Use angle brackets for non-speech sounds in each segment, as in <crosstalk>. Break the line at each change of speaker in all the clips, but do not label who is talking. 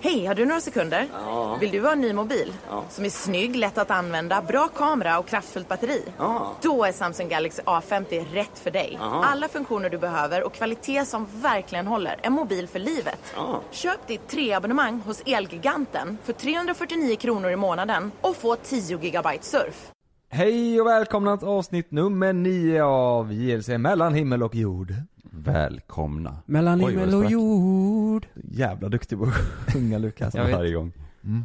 Hej, har du några sekunder?
Ja.
Vill du ha en ny mobil?
Ja.
Som är snygg, lätt att använda, bra kamera och kraftfullt batteri?
Ja.
Då är Samsung Galaxy A50 rätt för dig.
Aha.
Alla funktioner du behöver och kvalitet som verkligen håller. En mobil för livet.
Ja.
Köp ditt treabonnemang hos Elgiganten för 349 kronor i månaden och få 10 gigabyte surf.
Hej och välkomna till avsnitt nummer 9 av JLC mellan himmel och jord.
Välkomna.
Mellan
Oj, vad
himmel
det
och
sprack.
jord.
Jävla duktig på att sjunga
<laughs>
Lukas. Mm.
Jag vet.
Varje gång.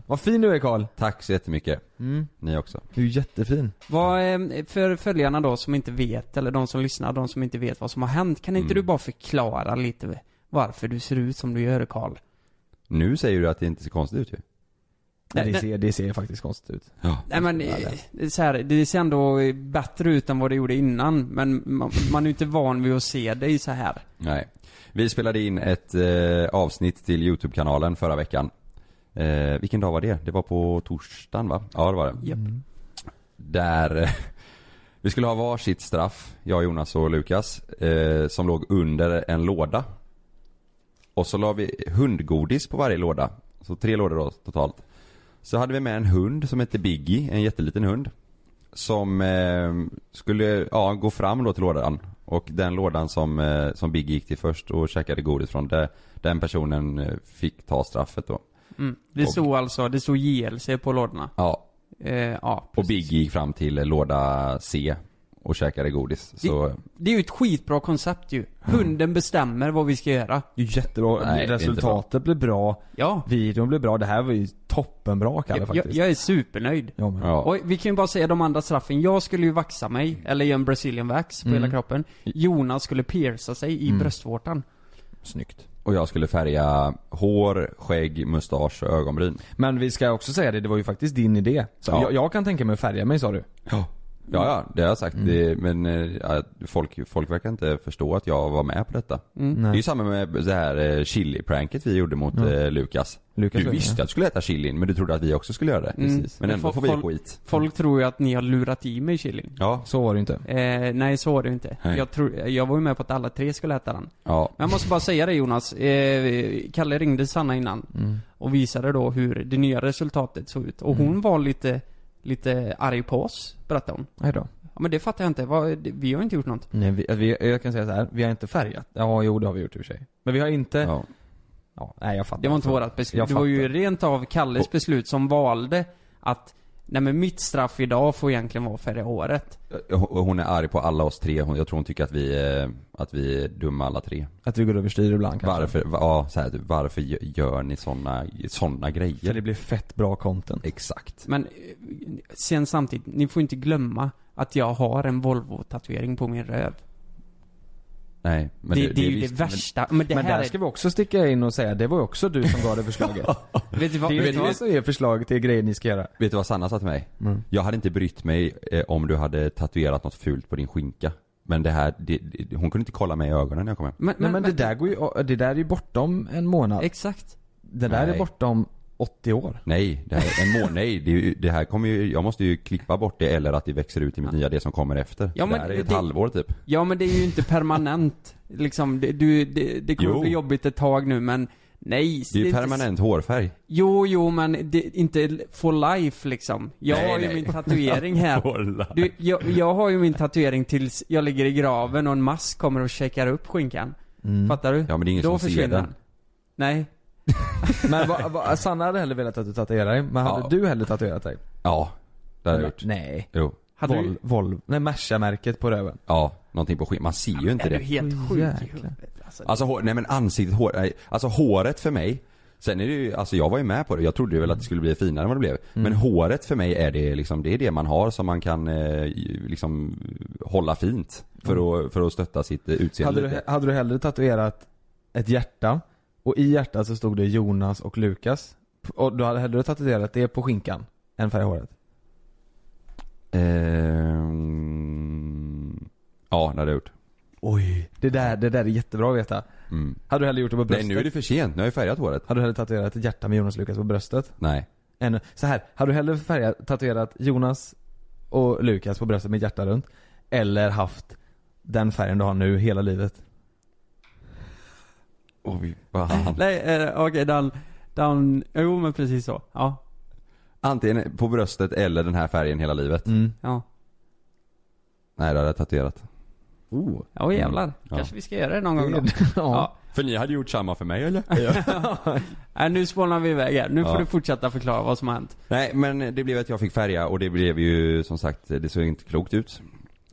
Vad fin du är Karl.
Tack så jättemycket.
Mm.
Ni också.
Du är jättefin.
Vad, eh, för följarna då som inte vet, eller de som lyssnar, de som inte vet vad som har hänt, kan inte du bara förklara lite varför du ser ut som du gör Karl?
Nu säger du att det inte ser konstigt ut ju.
Nej, det,
men-
ser, det ser faktiskt konstigt ut.
Ja.
Nej men, eh, det är så här, det ser ändå eh, bättre ut än vad det gjorde innan, men man, man är ju inte van vid att se dig så här.
Nej. Vi spelade in ett eh, avsnitt till YouTube-kanalen förra veckan. Eh, vilken dag var det? Det var på torsdagen va? Ja det var det.
Mm.
Japp.
Där eh, <laughs> vi skulle ha varsitt straff, jag, Jonas och Lukas, eh, som låg under en låda. Och så la vi hundgodis på varje låda. Så tre lådor då totalt. Så hade vi med en hund som hette Biggie, en jätteliten hund. Som eh, skulle, ja, gå fram då till lådan. Och den lådan som, eh, som Biggie gick till först och käkade godis från, där, den personen eh, fick ta straffet då.
Mm. Det
Och-
stod alltså, det stod JLC på lådorna.
Ja,
Eh, ja,
och
precis.
Biggie gick fram till eh, låda C och käkade godis. Så,
Det är ju ett skitbra koncept ju. Hunden bestämmer vad vi ska göra.
Det är jättebra.
Nej, det är inte
Resultatet blir bra.
Ja.
Videon blir bra. Det här var ju toppenbra Kalle
Jag, jag,
faktiskt.
jag är supernöjd.
Ja, men.
ja.
Oj, vi kan ju bara säga de andra straffen. Jag skulle ju vaxa mig, eller göra en brazilian wax på
Mm.
hela kroppen. Jonas skulle pierca sig i bröstvårtan.
Snyggt.
Och jag skulle färga hår, skägg, mustasch och ögonbryn.
Men vi ska också säga det, det var ju faktiskt din idé. Så
Ja.
jag, jag kan tänka mig att färga mig sa du.
Ja. Ja, ja, det har jag sagt. Det, men eh, ja, folk, folk verkar inte förstå att jag var med på detta.
Mm.
Det är ju samma med det här eh, chili-pranket vi gjorde mot eh, Lukas.
Lukas
du
var
visste
med.
att du skulle äta chilin, men du trodde att vi också skulle göra det.
Precis.
Men ändå
Men
får vi
folk-
skit.
Folk tror ju att ni har lurat i mig chilin.
Ja.
Så var det ju inte.
Eh, nej, så var det ju inte.
Nej.
Jag, tror, jag var ju med på att alla tre skulle äta den.
ja.
Men jag måste bara säga det Jonas. Eh, Kalle ringde Sanna innan.
Mm.
Och visade då hur det nya resultatet såg ut. Och
Mm.
hon var lite, lite arg på oss, berättade hon.
Nej då.
Ja men det fattar jag inte. Vad, det- vi har inte gjort något.
Nej, vi, vi, jag kan säga så här. vi har inte färgat. Ja, jo det har vi gjort i och för sig. Men vi har inte, ja,
ja.
nej jag fattar. alltså.
Det var inte vårat
Jag
beslut. Det var ju
fattar.
rent av Kalles beslut som valde att Nej men mitt straff idag får egentligen vara förra året.
Och Eh, Hon är arg på alla oss tre. Hon- Jag tror hon tycker att vi, eh, att vi är dumma alla tre.
Att vi går överstyr ibland kanske.
Varför, va- ja, så här, typ, varför gö- gör ni såna, såna
För
grejer?
det blir fett bra content.
Exakt.
Men eh, sen samtidigt, ni får inte glömma att jag har en Volvo-tatuering på min röv.
Nej, men
det, det, är ju
visst-
det värsta. Men, det
Men
här
där ska vi också sticka in och säga, det var ju också du som gav det förslaget.
är... Vet du vad?
det är
vet
ju
du
du
vad?
som ger förslag till grejer ni ska göra.
Men, vet du vad Sanna sa till mig?
Mm.
Jag hade inte brytt mig eh, om du hade tatuerat något fult på din skinka. Men det här, det, det, hon kunde inte kolla mig i ögonen när jag kom hem.
Men,
Nej men det där går ju, det där är ju bortom en månad.
Exakt.
det där är
nej.
bortom 80 år.
Nej, det här, en
<laughs>
månad, nej, det, är ju- det här kommer ju, jag måste ju klippa bort det eller att det växer ut i mitt nya, det som kommer efter.
Ja,
det
men
här är ett
det-
halvår typ.
Ja men det är ju inte permanent. liksom, det, du, det, det kommer
Jo.
bli jobbigt ett tag nu men Nej,
Det är ju
inte-
permanent hårfärg.
Jo, jo, men det, inte for life liksom. Jag
Nej,
har ju
nej.
<laughs>
min
<laughs>
tatuering här. Du, jag, jag har ju min tatuering tills jag ligger i graven och en mask kommer och checkar upp skinkan. Fattar du?
Ja, men det är Mm. ingen som ser den.
Nej.
Men va, va, Sanna hade hellre velat att du tatuerade dig, men hade
Ja.
du hellre tatuerat dig?
Ja, det har jag gjort.
Nej.
Jo.
Hade
Vol,
du,
Volvo, nej Merca-märket på röven.
Ja, någonting på skinkan. Man ser ju inte
är du
det.
helt
Åh,
sjuk i
jäklar.
huvudet? Alltså,
Alltså hår, nej men ansiktet, hår, nej, alltså håret för mig Sen är det ju, alltså jag var ju med på det, jag trodde ju väl att det skulle bli finare än vad det blev
Mm.
Men håret för mig är det liksom, det är det man har som man kan eh, ju- liksom hålla fint För att, för att stötta sitt eh, utseende
Mm. Hade du,
lite.
hade du hellre tatuerat ett hjärta, och i hjärtat så stod det Jonas och Lukas, och du hade hellre tatuerat det på skinkan, än färga håret?
Ehm, Ja, det hade jag gjort
Oj. Det där, det där är jättebra att veta.
mm.
Hade du hellre gjort det på
Nej
bröstet?
nu är det för sent, nu har jag färgat håret
Hade du hellre tatuerat ett hjärta med Jonas och Lukas på bröstet?
Nej,
Än, så här, hade du hellre färgat, tatuerat Jonas och Lukas på bröstet med ett hjärta runt? Eller haft den färgen du har nu hela livet?
oj, vad han
Nej, eh, okej Dan. Down, jo men precis så. Ja.
Antingen på bröstet eller den här färgen hela livet.
Mm.
Ja.
Nej, det hade jag tatuerat.
Oh.
Ja
<laughs>
jävlar.
Mm. Ja.
Kanske vi ska göra det någon gång då.
ja.
För ni hade gjort samma för mig eller?
Nej, nu spånar vi iväg här. Nu
Ja.
får du fortsätta förklara vad som har hänt.
Nej, men det blev att jag fick färga och det blev ju som sagt, det såg inte klokt ut.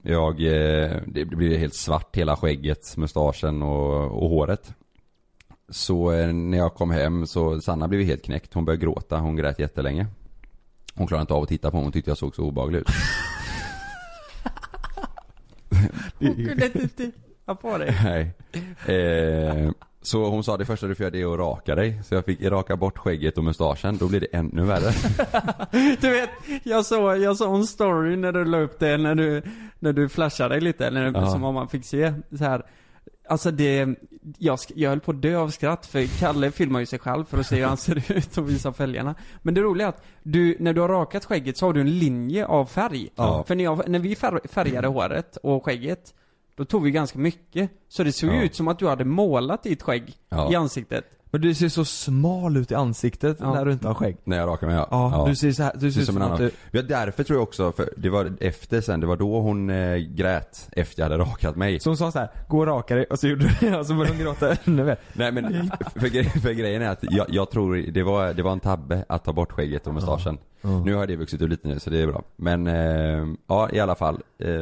Jag, eh, det blev helt svart hela skägget, mustaschen och, och håret. Så eh, när jag kom hem så, Sanna blev ju helt knäckt. Hon började gråta, hon grät jättelänge. Hon klarade inte av att titta på mig, hon tyckte jag såg så obehaglig <laughs> ut.
Hon kunde inte titta på dig.
Nej. Eh, så hon sa det första du får göra det är att raka dig. Så jag fick raka bort skägget och mustaschen, då blir det ännu <laughs> värre.
Du vet, jag såg, jag såg en story när du la upp det, när du, när du flashade dig lite, eller
Ja.
som om man fick se så här. Alltså det, jag, sk- jag höll på att dö av skratt för Kalle filmar ju sig själv för att se hur han ser <laughs> ut och visa fälgarna. Men det roliga är att du, när du har rakat skägget så har du en linje av färg.
Ja. Mm.
För när, jag, när vi fär, färgade håret och skägget, då tog vi ganska mycket. Så det såg ju
Ja.
ut som att du hade målat ditt skägg
Ja.
i ansiktet.
Men du ser så smal ut i ansiktet
Ja.
när du inte har skägg.
När jag rakar mig ja.
Ja, du ser så här, du
Det
ser
är som en
att
annan.
du,
Ja, därför tror jag också, för det var efter sen, det var då hon eh, grät efter jag hade rakat mig.
som sa så här, gå och raka dig och så gjorde du det och så började hon gråta ännu mer.
Nej men, <laughs> för, gre- för grejen är att jag, jag tror det var, det var en tabbe att ta bort skägget och mustaschen. Nu har det vuxit ut lite nu så det är bra. Men, eh, ja i alla fall. Eh,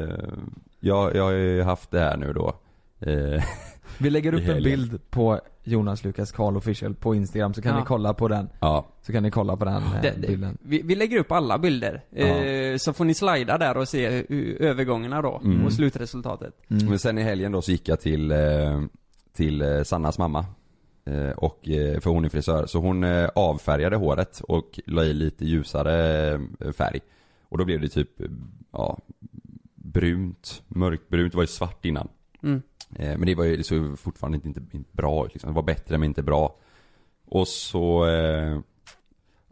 jag, jag har ju haft det här nu då. Eh, <laughs>
Vi lägger upp
I
en
helgen.
bild på Jonas Lukas Karl official på Instagram så kan
Ja.
ni kolla på den.
ja.
Så kan ni kolla på den eh,
Det- det-
bilden.
Vi, vi lägger upp alla bilder, eh,
Ja.
så får ni slida där och se hur- övergångarna då,
Mm.
och slutresultatet.
Mm.
Men sen i helgen då så gick jag till, eh, till eh, Sannas mamma. Eh, Och, eh, för hon är frisör. Så hon eh, avfärgade håret och la i lite ljusare eh, färg. Och då blev det typ, eh, ja, brunt, mörkbrunt. Det var ju svart innan.
Mm.
Eh, Men det var ju, det såg ju fortfarande inte, inte, inte bra ut liksom. Det var bättre men inte bra. Och så eh,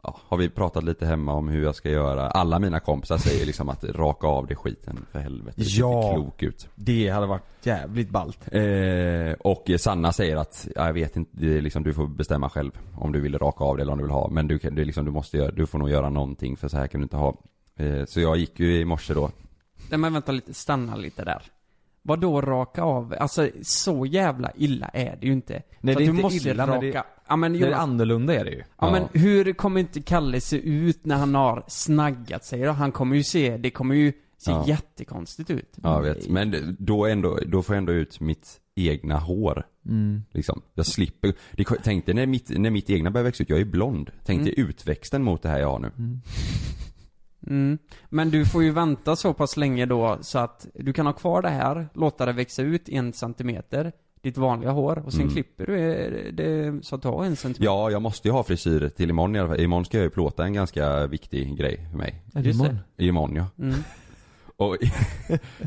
ja, har vi pratat lite hemma om hur jag ska göra. Alla mina kompisar säger liksom att raka av det skiten för helvete. Det ser
Ja.
inte klok ut.
Det hade varit jävligt ballt.
Eh, och Sanna säger att, ja, jag vet inte, det är liksom, du får bestämma själv om du vill raka av det eller om du vill ha. Men du, kan, det är liksom, du, måste göra, du får nog göra någonting för så här kan du inte ha. Eh, så jag gick ju i morse då.
Nej men vänta lite, stanna lite där. Vad då raka av? Alltså så jävla illa är det ju inte.
Nej,
så
det är
att
inte
du måste
illa, men
raka.
det-
ja, men,
Det är
Jonas,
annorlunda är det ju.
ja, men
Ja.
hur kommer inte Kalle se ut när han har snaggat sig då? Han kommer ju se, det kommer ju se
Ja.
jättekonstigt ut.
Ja, jag vet. Men då, ändå, då får jag ändå ut mitt egna hår. Liksom. Jag slipper. Det, tänk dig när mitt, när mitt egna börjar växa ut, jag är blond. Tänk dig utväxten mot det här jag har nu.
Mm. Men du får ju vänta så pass länge då så att du kan ha kvar det här, låta det växa ut en centimeter, ditt vanliga hår och sen
Mm.
klipper du eh, det så att du har en centimeter.
Ja, jag måste ju ha frisyr till imorgon i alla fall. Imorgon ska jag ju plåta en ganska viktig grej för mig.
Är
Just
imorgon?
Imorgon ja.
Mm.
Och <laughs>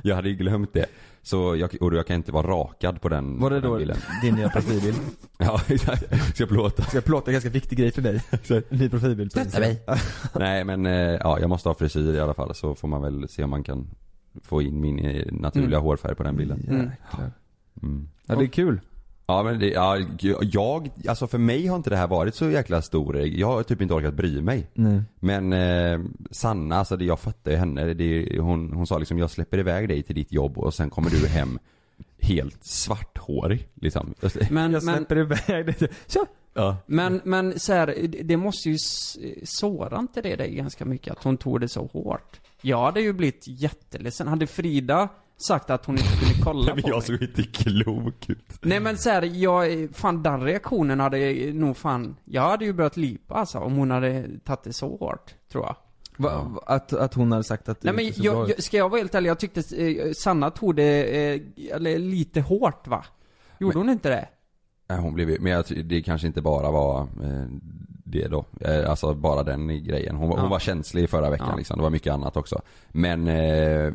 jag hade ju glömt det. Så jag, och jag kan inte vara rakad på den,
Var det
på den
då
bilden. <laughs>
din nya profilbild?
Ja, exakt. Ska jag plåta?
Ska jag plåta en ganska viktig grej för dig? Ny profilbild på Instagram.
Nej men eh, ja, jag måste ha frisyr i alla fall så får man väl se om man kan få in min eh, naturliga
Mm.
hårfärg på den bilden.
Mm.
Jäklar.
Mm.
Ja det är kul.
Ja men det, ja, jag, alltså för mig har inte det här varit så jäkla stor, jag har typ inte orkat bry mig.
Nej.
Men eh, Sanna, alltså det, jag fattar ju henne. Det, hon, hon sa liksom jag släpper iväg dig till ditt jobb och sen kommer du hem helt svarthårig. Liksom. <laughs>
Men,
Jag
men,
släpper iväg dig. <laughs> Så!
Ja.
men, men så här, det- det måste ju s- såra inte det dig ganska mycket att hon tog det så hårt. Jag hade ju blivit jätteledsen. Hade Frida sagt att hon inte skulle kolla
<laughs> Men
på
jag
mig?
såg inte klok ut.
Nej men så här, jag, fan den reaktionen hade nog fan, jag hade ju börjat lipa alltså om hon hade tagit det så hårt, tror jag.
Va, va- att, att hon hade sagt att det
Nej men
inte så bra
jag,
ut.
jag, ska jag vara helt ärlig, jag tyckte eh, Sanna tog det, eh, eller lite hårt va? Gjorde hon inte det?
Nej, hon blev ju- men jag, tror- det kanske inte bara var eh, det då. Eh, Alltså bara den grejen. Hon, var-
Ja.
hon var känslig förra veckan
Ja.
liksom. Det var mycket annat också. Men eh,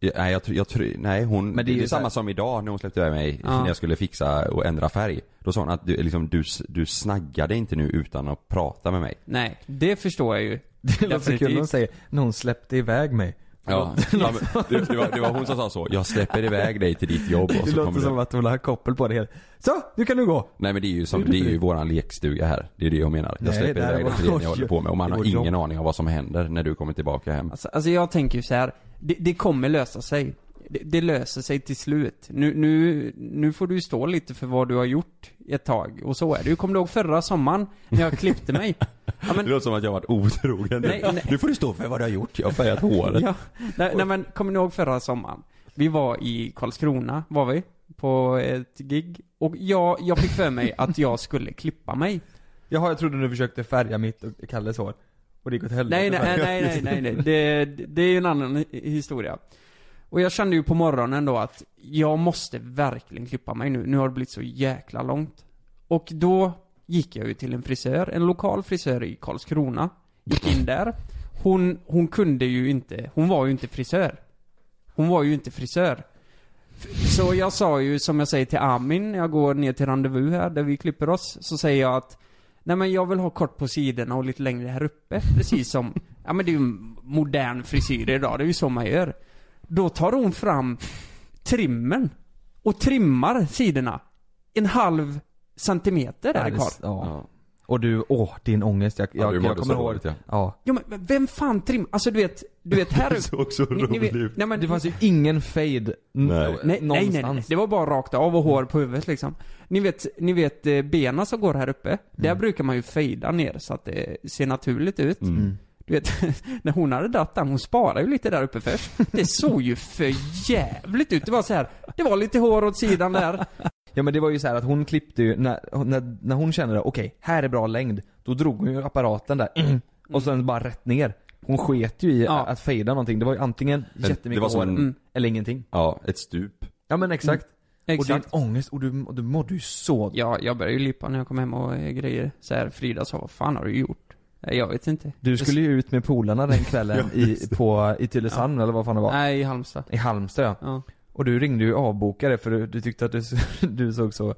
jag- Nej jag, tror- jag tror, nej hon,
det är
det,
ju
är
så här-
samma som idag när hon släppte iväg mig
Ja.
när jag skulle fixa och ändra färg. Då sa hon att du, liksom, du, s- du snaggade inte nu utan att prata med mig.
Nej, det förstår jag ju.
<laughs> Det låter så kul när hon
Definitivt.
säger, när hon släppte iväg mig.
Ja, ja men, <laughs> det, det, var, det var hon som sa så. Jag släpper iväg dig till ditt jobb och
Det
så kommer
låter som
du.
att hon har koppel på det hela. Så, nu kan du gå!
Nej men det är ju som, det är ju våran lekstuga här. Det är det jag menar. Jag
Nej,
släpper
det här
iväg dig
var-
till det ni håller på med och man
Det
har
var
ingen
jobb.
aning om vad som händer när du kommer tillbaka hem.
Alltså, alltså jag tänker ju så här. Det, det kommer lösa sig. Det, det löser sig till slut. Nu, nu, nu får du ju stå lite för vad du har gjort ett tag. Och så är det ju. Kommer du ihåg förra sommaren? När jag
<laughs>
klippte mig? Ja, men,
Det låter som att jag har varit otrogen.
Nej, nej.
Nu får du stå för vad du har gjort. Jag har färgat håret.
ja, nej, nej men kommer ni ihåg förra sommaren? Vi var i Karlskrona, var vi? På ett gig. Och jag, jag fick för mig att jag skulle klippa mig.
Jaha, jag trodde du försökte färga mitt och Kalles hår. Och det gick åt helvete.
Nej, nej, nej, nej, nej, nej. Det, det är ju en annan hi- historia. Och jag kände ju på morgonen då att jag måste verkligen klippa mig nu. Nu har det blivit så jäkla långt. Och då gick jag ju till en frisör, en lokal frisör i Karlskrona. Gick in där. Hon, hon kunde ju inte, hon var ju inte frisör. Hon var ju inte frisör. Så jag sa ju som jag säger till Amin när jag går ner till rendezvous här där vi klipper oss. Så säger jag att Nej men jag vill ha kort på sidorna och lite längre
<laughs>
här uppe. Precis som, ja men det är ju en modern frisyr idag, det är ju så man gör. Då tar hon fram trimmen och trimmar sidorna. En halv centimeter
Ja,
är det kvar.
<laughs> det- ja. Och du, åh, din ångest. Jag,
Ja,
jag,
du mådde
jag kommer
så
ihåg.
dåligt, ja.
ja.
Ja men- men vem fan trimmar? Alltså du vet, du
<laughs>
vet här uppe.
såg så
Ni- ni vet-
rolig ut.
Nej men
Det fanns ju Alltså, ingen fade
Nej.
Nej, nej, nej, nej,
eh, någonstans.
det var bara rakt av och hår på huvudet liksom. Ni vet, ni vet eh, benen som går här uppe, där brukar man ju fejda ner så att det ser naturligt ut.
Mm.
Du vet, <laughs> när hon hade dratt den, hon sparade ju lite där uppe först. Det såg ju för jävligt ut. Det var så här, det var lite hår åt sidan där.
Ja men det var ju så här att hon klippte ju, när, när, när hon kände det, okej, här är bra längd. Då drog hon ju apparaten där, <clears throat> och sen bara rätt ner. Hon sket ju i
Mm. Ja.
att fejda någonting. Det var ju antingen
det
jättemycket
var som
hår,
en-
Mm.
eller ingenting.
Ja, ett stup.
Ja men exakt. Och
Exakt.
din ångest, och du, och du mådde ju så
Ja, jag började ju lipa när jag kom hem och eh, grejer. Så här, Frida sa, vad fan har du gjort? Nej, Jag vet inte.
Du skulle ju ut med polarna <laughs> den kvällen i, på, i Tylösand eller vad fan det var.
Nej, i Halmstad.
I Halmstad ja.
Ja.
Och du ringde ju avbokare för du, du tyckte att du, <laughs> du såg så...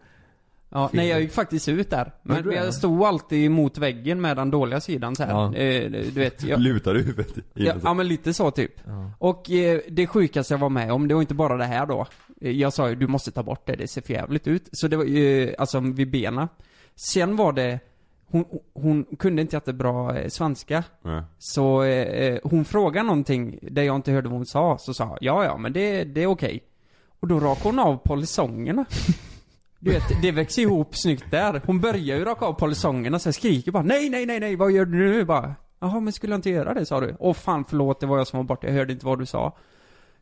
Ja,
Fel.
nej jag gick faktiskt ut där. Men
Gjorde du det?
jag stod alltid mot väggen med den dåliga sidan så här.
Ja.
Eh, Du vet, jag,
Lutar du huvudet i
ja,
den så-
ja men lite så typ.
Ja.
Och eh, det sjukaste jag var med om, det var inte bara det här då. Eh, Jag sa ju du måste ta bort det, det ser för jävligt ut. Så det var ju, alltså vid bena. Sen var det, hon, hon kunde inte jättebra eh, svenska.
Nej.
Så eh, eh, hon frågade någonting där jag inte hörde vad hon sa, så sa jag ja ja men det, det är okej. Och då rakade hon av polisongerna. <laughs> Du vet, det växer ihop snyggt där. Hon börjar ju raka av polisongerna, sen skriker bara nej nej nej nej vad gör du nu? Bara, Jaha men skulle jag inte göra det sa du? Åh fan förlåt det var jag som var borta, jag hörde inte vad du sa.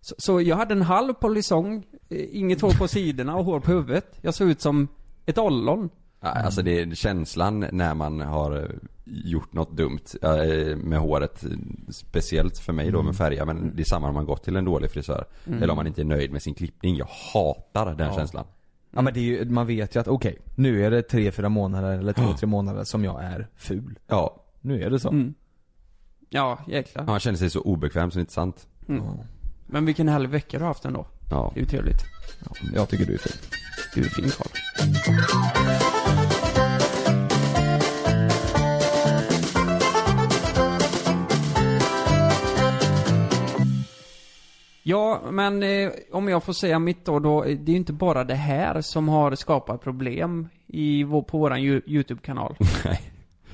Så, så jag hade en halv polisong, eh, inget hår på sidorna och hår på huvudet. Jag såg ut som ett ollon.
Ja, Alltså det är känslan när man har eh, gjort något dumt eh, med håret. Speciellt för mig då
Mm.
med färga. Men det är samma om man gått till en dålig frisör. Eller om man inte är nöjd med sin klippning. Jag hatar den känslan.
Ja men det är ju, man vet ju att okej, nu är det tre fyra månader eller två tre månader som jag är ful.
Ja.
Nu är det så.
Mm. Ja, jäklar.
Man känner sig så obekväm så det är inte sant.
Men vilken härlig vecka du har haft ändå.
Ja. <laughs>
Det är ju trevligt.
Jag tycker du är ful.
Du är fin Karl. Ja, men eh, om jag får säga mitt då, då, eh, det är ju inte bara det här som har skapat problem i vår, på våran Yo- YouTube-kanal.
Nej.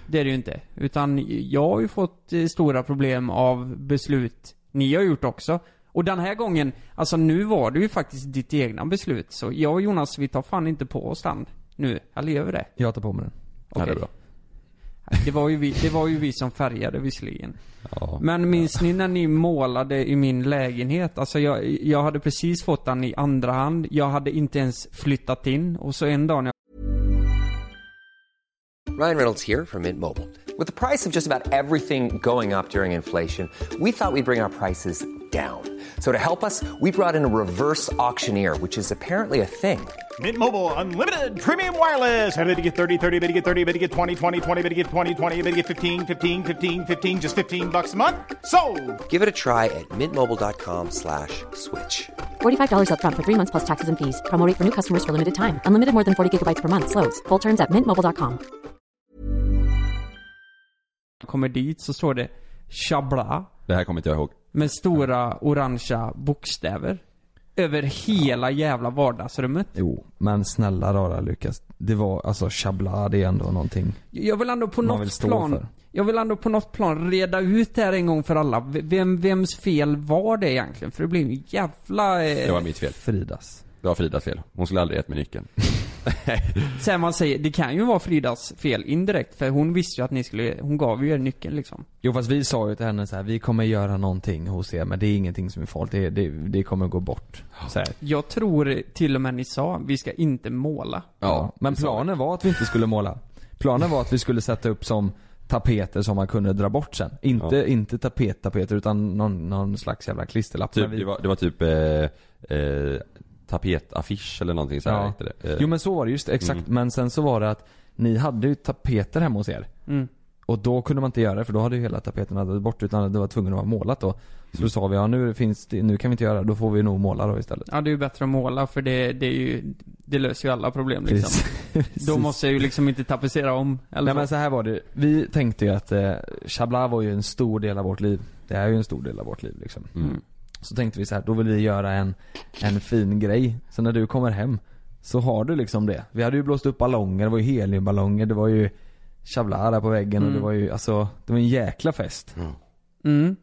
Det är det ju inte. Utan jag har ju fått eh, stora problem av beslut ni har gjort också. Och den här gången, alltså nu var det ju faktiskt ditt egna beslut. Så jag och Jonas, vi tar fan inte på oss den nu. Eller gör vi det?
Jag tar på mig den.
Ja, det är
Okej.
bra.
Det var ju vi, det var ju vi som färgade visserligen.
Ja.
Men minns ni när ni målade i min lägenhet? Alltså jag, jag hade precis fått den i andra hand. Jag hade inte ens flyttat in. Och så en dag när
Ryan Reynolds here from Mint Mobile. With the price of just about everything going up during inflation, we thought we'd bring our prices down. So to help us, we brought in a reverse auctioneer, which is apparently a thing.
Mint Mobile unlimited premium wireless. Ready to get 30, 30, ready to get 30, ready to get 20, 20, 20, ready to get 20, 20, ready to get 15, 15, 15, 15 just 15 bucks a month. So,
Give it a try at mintmobile.com slash switch.
$45 upfront for three months plus taxes and fees. Promo rate for new customers for limited time. Unlimited more than 40 gigabytes per month. Slows. Full terms at mintmobile.com.
jag kommer dit så står det Chabla.
Det här kommer inte jag ihåg.
med stora orangea bokstäver. Över hela jävla vardagsrummet.
Jo, men snälla rara Lukas. Det var, alltså chabla, det är ändå någonting.
Jag vill ändå på
Man vill
något
stå
plan,
för.
jag vill ändå på något plan reda ut det här en gång för alla. V- Vem, vems fel var det egentligen? För det blev ju jävla... Eh,
Det var mitt fel.
Fridas.
Det var Fridas fel. Hon skulle aldrig gett mig
<laughs>
nyckeln.
Sen man säger, det kan ju vara Fridas fel indirekt. För hon visste ju att ni skulle, hon gav ju er nyckeln liksom.
Jo fast vi sa ju till henne så här, vi kommer göra någonting hos er men det är ingenting som är farligt, det, det, det kommer gå bort. Så här.
Jag tror till och med ni sa, vi ska inte måla.
Ja, men planen var att vi inte skulle måla. Planen var att vi skulle sätta upp som tapeter som man kunde dra bort sen. Inte, inte tapettapeter utan någon, någon slags jävla klisterlapp.
Typ,
Men vi-
det, var, det var typ eh, eh, tapetaffisch eller någonting så här
Ja.
hette det. Eh, Mm.
Jo men så var det just exakt. Men sen så var det att ni hade ju tapeter hemma hos er. Och då kunde man inte göra det för då hade ju hela tapeten hade bort utan det var tvungen att vara målat då. Så
Mm.
då sa vi ja nu finns det, nu kan vi inte göra det, då får vi nog måla då istället.
Ja, det är ju bättre att måla för det, det är ju, det löser ju alla problem liksom.
Precis. <laughs>
Då måste jag ju liksom inte tapetsera om. Eller
Nej
så.
men så här var det. Vi tänkte ju att eh, Chabla var ju en stor del av vårt liv. Det är ju en stor del av vårt liv liksom. Så tänkte vi så här, då vill vi göra en, en fin grej. Så när du kommer hem så har du liksom det. Vi hade ju blåst upp ballonger, det var ju heliumballonger, det var ju Chabla där på väggen och det var ju alltså, det var en jäkla fest.
Mm.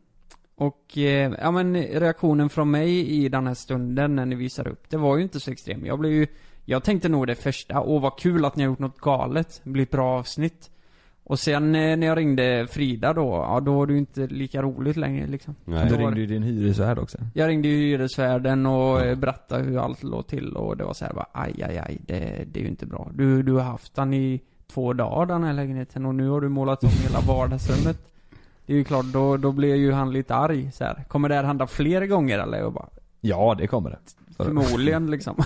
Och, eh, ja men reaktionen från mig i den här stunden när ni visar upp, det var ju inte så extrem. Jag blev ju, jag tänkte nog det första, åh vad kul att ni har gjort något galet, det blir ett bra avsnitt. Och sen eh, när jag ringde Frida då, ja då var det ju inte lika roligt längre liksom.
Nej.
Du ringde ju din hyresvärd också.
Jag ringde ju hyresvärden och eh, berättade hur allt låg till och det var så här bara, aj, aj, aj det, det är ju inte bra. Du, du har haft den i två dagar den här lägenheten och nu har du målat om hela vardagsrummet. Det är ju klart, då, då blir ju han lite arg så här. Kommer det här hända fler gånger eller? Jag bara,
Ja det kommer det. Så-
förmodligen liksom.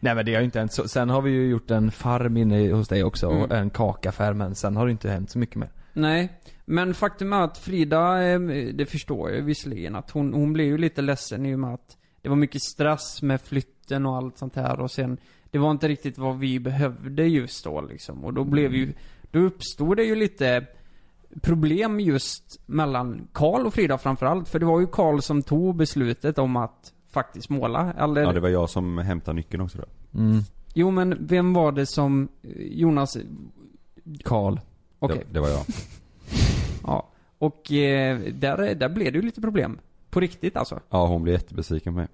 Nej men det har ju inte hänt så. Sen har vi ju gjort en farm inne hos dig också och en kakaffär men sen har det inte hänt så mycket mer.
Nej, men faktum är att Frida, eh, det förstår jag visserligen att hon, hon blev ju lite ledsen i och med att det var mycket stress med flytten och allt sånt här och sen det var inte riktigt vad vi behövde just då liksom och då
Mm.
blev ju, då uppstod det ju lite problem just mellan Karl och Frida framförallt för det var ju Karl som tog beslutet om att faktiskt måla eller
Ja, det var jag som hämtade nyckeln också då.
Jo men vem var det som eh, Jonas,
Karl.
okej
Det, det var jag.
Ja. Och eh, där, där blev det ju lite problem. På riktigt alltså.
Ja, hon blev jättebesviken på mig.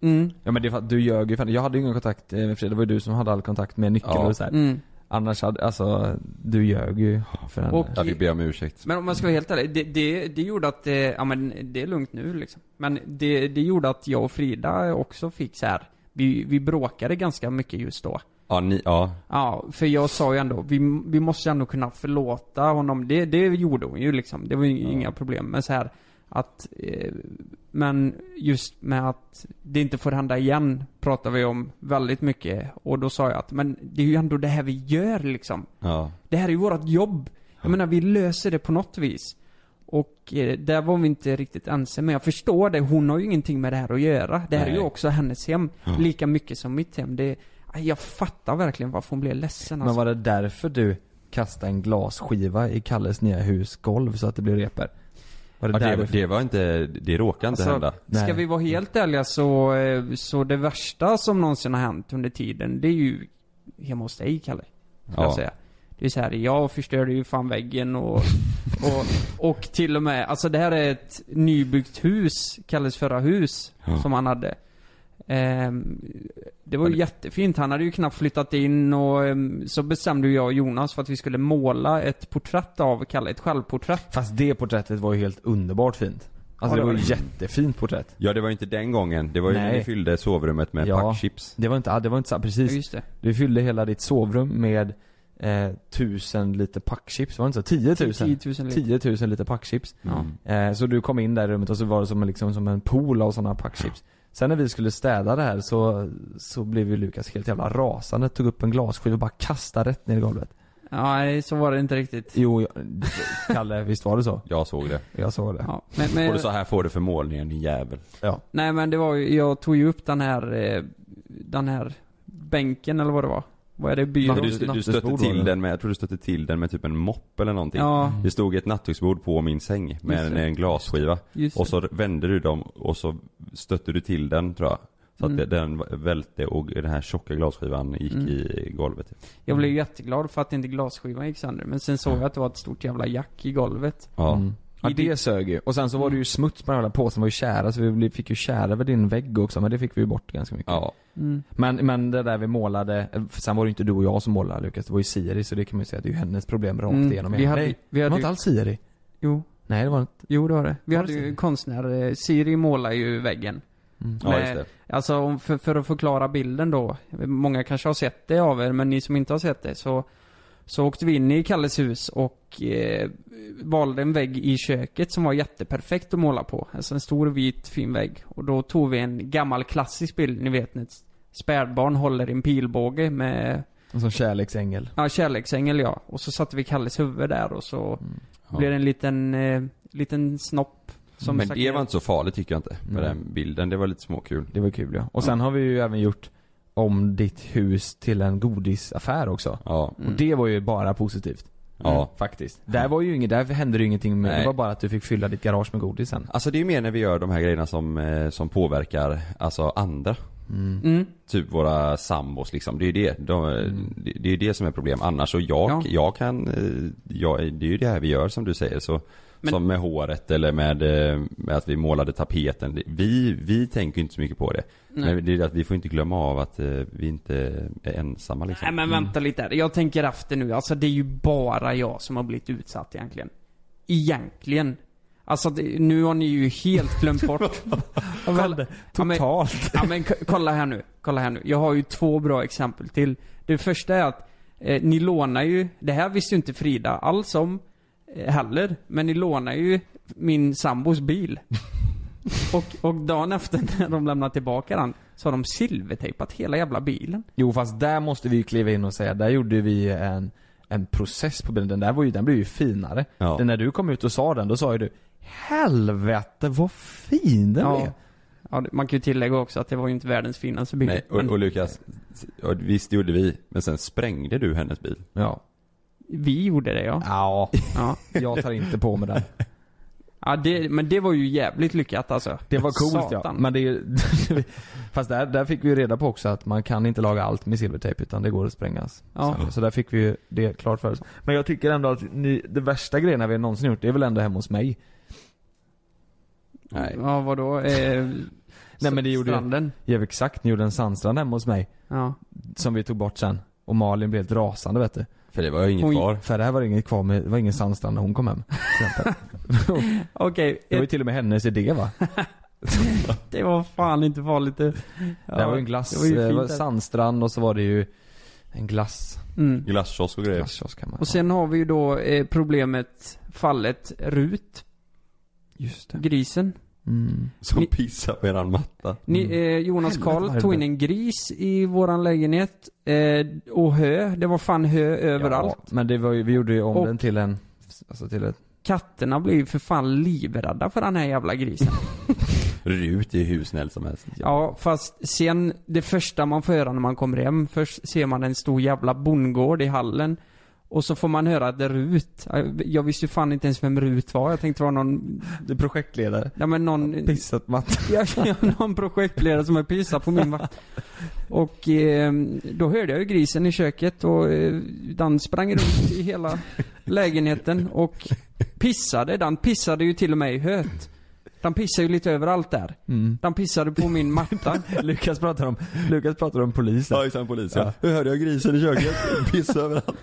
Mm.
Ja men det är för att du ljög ju fan. Jag hade ju ingen kontakt eh, med Frida, det var ju du som hade all kontakt med nyckeln
Ja.
och så här.
Mm.
Annars hade, alltså, du ljög ju för henne.
Och-
Jag fick be om ursäkt.
Men om man ska vara helt ärlig, det, det, det gjorde att, eh, ja men det är lugnt nu liksom. Men det, det gjorde att jag och Frida också fick så här. Vi, vi bråkade ganska mycket just då.
Ja, ni, ja.
Ja, för jag sa ju ändå, vi, vi måste ändå kunna förlåta honom. Det, det gjorde hon ju liksom. Det var ju inga problem. Men så här att, eh, men just med att det inte får hända igen pratar vi om väldigt mycket. Och då sa jag att, men det är ju ändå det här vi gör liksom.
ja.
Det här är ju vårt jobb. Jag menar, vi löser det på något vis. Och eh, där var vi inte riktigt ense, men jag förstår det. Hon har ju ingenting med det här att göra. Det här är ju
Nej.
också hennes hem. Lika mycket som mitt hem. Det, aj, jag fattar verkligen varför hon blev ledsen
Men
alltså.
var det därför du kastade en glasskiva i Kalles nya husgolv så att det blev repor? Var det
ja det,
därför?
det var inte, det råkade inte hända.
Nej.
alltså. Ska vi vara helt ärliga så, eh, så det värsta som någonsin har hänt under tiden, det är ju hemma hos dig Kalle. Ska jag
Ja.
säga. Det är så här, jag förstörde ju fan väggen och,
<laughs>
och, och till och med, alltså det här är ett nybyggt hus, Kalles förra hus, som han hade. Ehm, det var ju jättefint, han hade ju knappt flyttat in och ehm, så bestämde ju jag och Jonas för att vi skulle måla ett porträtt av Kalle, ett självporträtt.
Fast det porträttet var ju helt underbart fint. Alltså det
Ja, det
var
var
ju jättefint porträtt.
Ja, det var ju inte den gången. Det var ju när
Nej.
ni fyllde sovrummet med
Ja.
packchips.
Det var inte, ah, det var inte så,
Ja,
precis.
just det.
Du fyllde hela ditt sovrum med eh, tusen liter packchips, var det inte så? 10 000?
10 000 liter.
10 000 liter packchips.
Ja.
Mm.
Eh, så du kom in där i rummet och så var det som en, liksom, som en pool av sådana packchips. Sen när vi skulle städa det här så, så blev ju Lukas helt jävla rasande, tog upp en glasskiva och bara kastade rätt ner i golvet.
Ja, nej, så var det inte riktigt.
Jo, jag, Kalle, visst var det så?
Jag såg det.
Jag såg det.
Ja, men, men,
Och du sa här får du för målningen din jävel.
Ja.
Nej men det var ju, jag tog ju upp den här, eh, den här bänken eller vad det var. Vad är det?
Men
Byrå?
Du, du stötte
nattduksbord var
till
det.
den med, jag tror du stötte till den med typ en mopp eller någonting.
Ja,
Det stod ett nattduksbord på min säng med
Just
en,
det.
en glasskiva.
just det.
Och så vände du dem och så stötte du till den tror jag. Så att
Mm.
det- den välte och den här tjocka glasskivan gick
Mm.
i golvet.
Jag blev jätteglad för att inte glasskivan gick sönder. Men sen såg jag att det var ett stort jävla jack i golvet.
Ja.
Mm. Ja
I
det
ditt-
sög ju. Och sen så var det ju smuts på den här påsen, var ju tjära så vi blev- fick ju tjära över din vägg också men det fick vi ju bort ganska mycket.
ja.
Mm.
Men, men det där vi målade, för sen var det ju inte du och jag som målade Lukas, det var ju Siri så det kan man ju säga att det är ju hennes problem rakt
Mm.
igenom.
Vi hade,
Nej,
vi
det
hade
var
ju,
inte alls Siri.
jo,
Nej det var inte.
jo det var det. Vi
Var
hade
det
ju
Siri?
konstnär, eh, Siri målar ju väggen.
Mm.
ja, just det.
Alltså om- för, för att förklara bilden då. Många kanske har sett det av er, men ni som inte har sett det så så åkte vi in i Kalles hus och eh, valde en vägg i köket som var jätteperfekt att måla på. Alltså en stor vit fin vägg. Och då tog vi en gammal klassisk bild, ni vet när ett spädbarn håller i en pilbåge med,
En sån kärleksängel.
ja kärleksängel ja. Och så satte vi Kalles huvud där och så
Mm. Ja.
blev det en liten, eh, liten snopp. Som Mm.
Men
stack
det
ner.
var inte så farligt tycker jag inte. Med
Nej.
den bilden, det var lite småkul.
Det var kul ja. Och sen har vi ju även gjort om ditt hus till en godisaffär också.
Ja.
Mm.
Och det var ju bara positivt. Mm,
Ja.
Faktiskt. Där var ju inget, där hände det ju ingenting med,
Nej.
det var bara att du fick fylla ditt garage med godis sen.
Alltså det är ju mer när vi gör de här grejerna som, eh, som påverkar, alltså andra.
Mm.
Typ våra sambos liksom, det är ju det. De, det, det är ju det som är problem. Annars så jag,
Ja.
jag kan, eh, jag, det är ju det här vi gör som du säger. Så,
Men-
Som med håret eller med, eh, med att vi målade tapeten. Det- Vi, vi tänker ju inte så mycket på det.
Nej.
Men det är att vi får inte glömma av att eh, vi inte är ensamma liksom.
Nej men vänta lite här. Jag tänker efter nu. Alltså det är ju bara jag som har blivit utsatt egentligen. Egentligen. Alltså det, nu har ni ju helt glömt
<laughs>
bort. Kolla- ja, men-
Totalt.
<laughs> Ja men k- kolla här nu. Kolla här nu. Jag har ju två bra exempel till. Det första är att eh, ni lånar ju, det här visste ju inte Frida alls om eh, heller. Men ni lånar ju min
<laughs>
sambos bil. och, och dagen efter när de lämnar tillbaka den så har de silvertejpat hela jävla bilen.
Jo fast där måste vi ju kliva in och säga, där gjorde vi en, en process på bilden. Den där var ju, den blev ju finare.
Ja.
Den när du kom ut och sa den, då sa ju du Helvete vad fin den
Ja.
är.
Ja, det- man kan ju tillägga också att det var ju inte världens finaste bil.
Nej, och, och Lukas, ja, visst det gjorde vi. Men sen sprängde du hennes bil.
Ja.
Vi gjorde det ja.
Ja,
ja.
jag tar inte på mig den.
ja det, men det var ju jävligt lyckat alltså.
Det var coolt ja.
Satan.
Men det är ju- <laughs> Fast där, där fick vi ju reda på också att man kan inte laga allt med silvertejp utan det går att sprängas.
Ja.
Så, så där fick vi ju det klart för oss. Men jag tycker ändå att ni, det värsta grejerna vi någonsin gjort, det är väl ändå hemma hos mig.
Nej.
Ja, vadå? Eh,
Nej, men det gjorde ju-
Stranden.
Ja exakt, ni gjorde en sandstrand hemma hos mig.
Ja.
Som vi tog bort sen. Och Malin blev helt rasande vet du.
För det var ju inget
Oj.
kvar.
För det här var inget kvar med, det var ingen sandstrand när hon kom hem. till
<laughs>
exempel.
Okej,
Det var ju
ett-
till och med hennes idé va?
det var fan inte farligt det. Ja,
det var ju en glass,
det var ju
det var
fint där.
sandstrand och så var det ju en glass.
Mm.
Glasskiosk och grejer.
Glasskiosk hemma.
Och sen har vi ju då eh, problemet, fallet Rut,
Just det.
grisen.
Mm.
Som
Ni-
pissar på eran matta.
Ni, eh, Jonas
Helvete, vad är
Karl
det
tog in
där?
en gris i våran lägenhet. Eh, och hö, det var fan hö överallt.
Ja, men det var ju, vi gjorde ju om
Och-
den till en, alltså till ett
Katterna blir ju för fan livrädda för den här jävla grisen.
Rut är hur snäll som helst.
Ja, fast sen, det första man får höra när man kommer hem, först ser man en stor jävla bondgård i hallen. Och så får man höra att det är Rut. Jag visste ju fan inte ens vem Rut var. Jag tänkte det var någon,
Du är projektledare.
ja men någon,
Pissat matte.
ja, <laughs> ja, någon projektledare som är pissad på min vakt. Och eh, då hörde jag ju grisen i köket och eh, den sprang runt i hela lägenheten och pissade. Den pissade ju till och med i höet. Den pissade ju lite överallt där.
Mm.
Den pissade på min matta.
<laughs> Lukas pratar om, Lukas pratar om polisen.
Ja, exakt polis ja. Nu hörde jag grisen i köket. <laughs> Pissa överallt.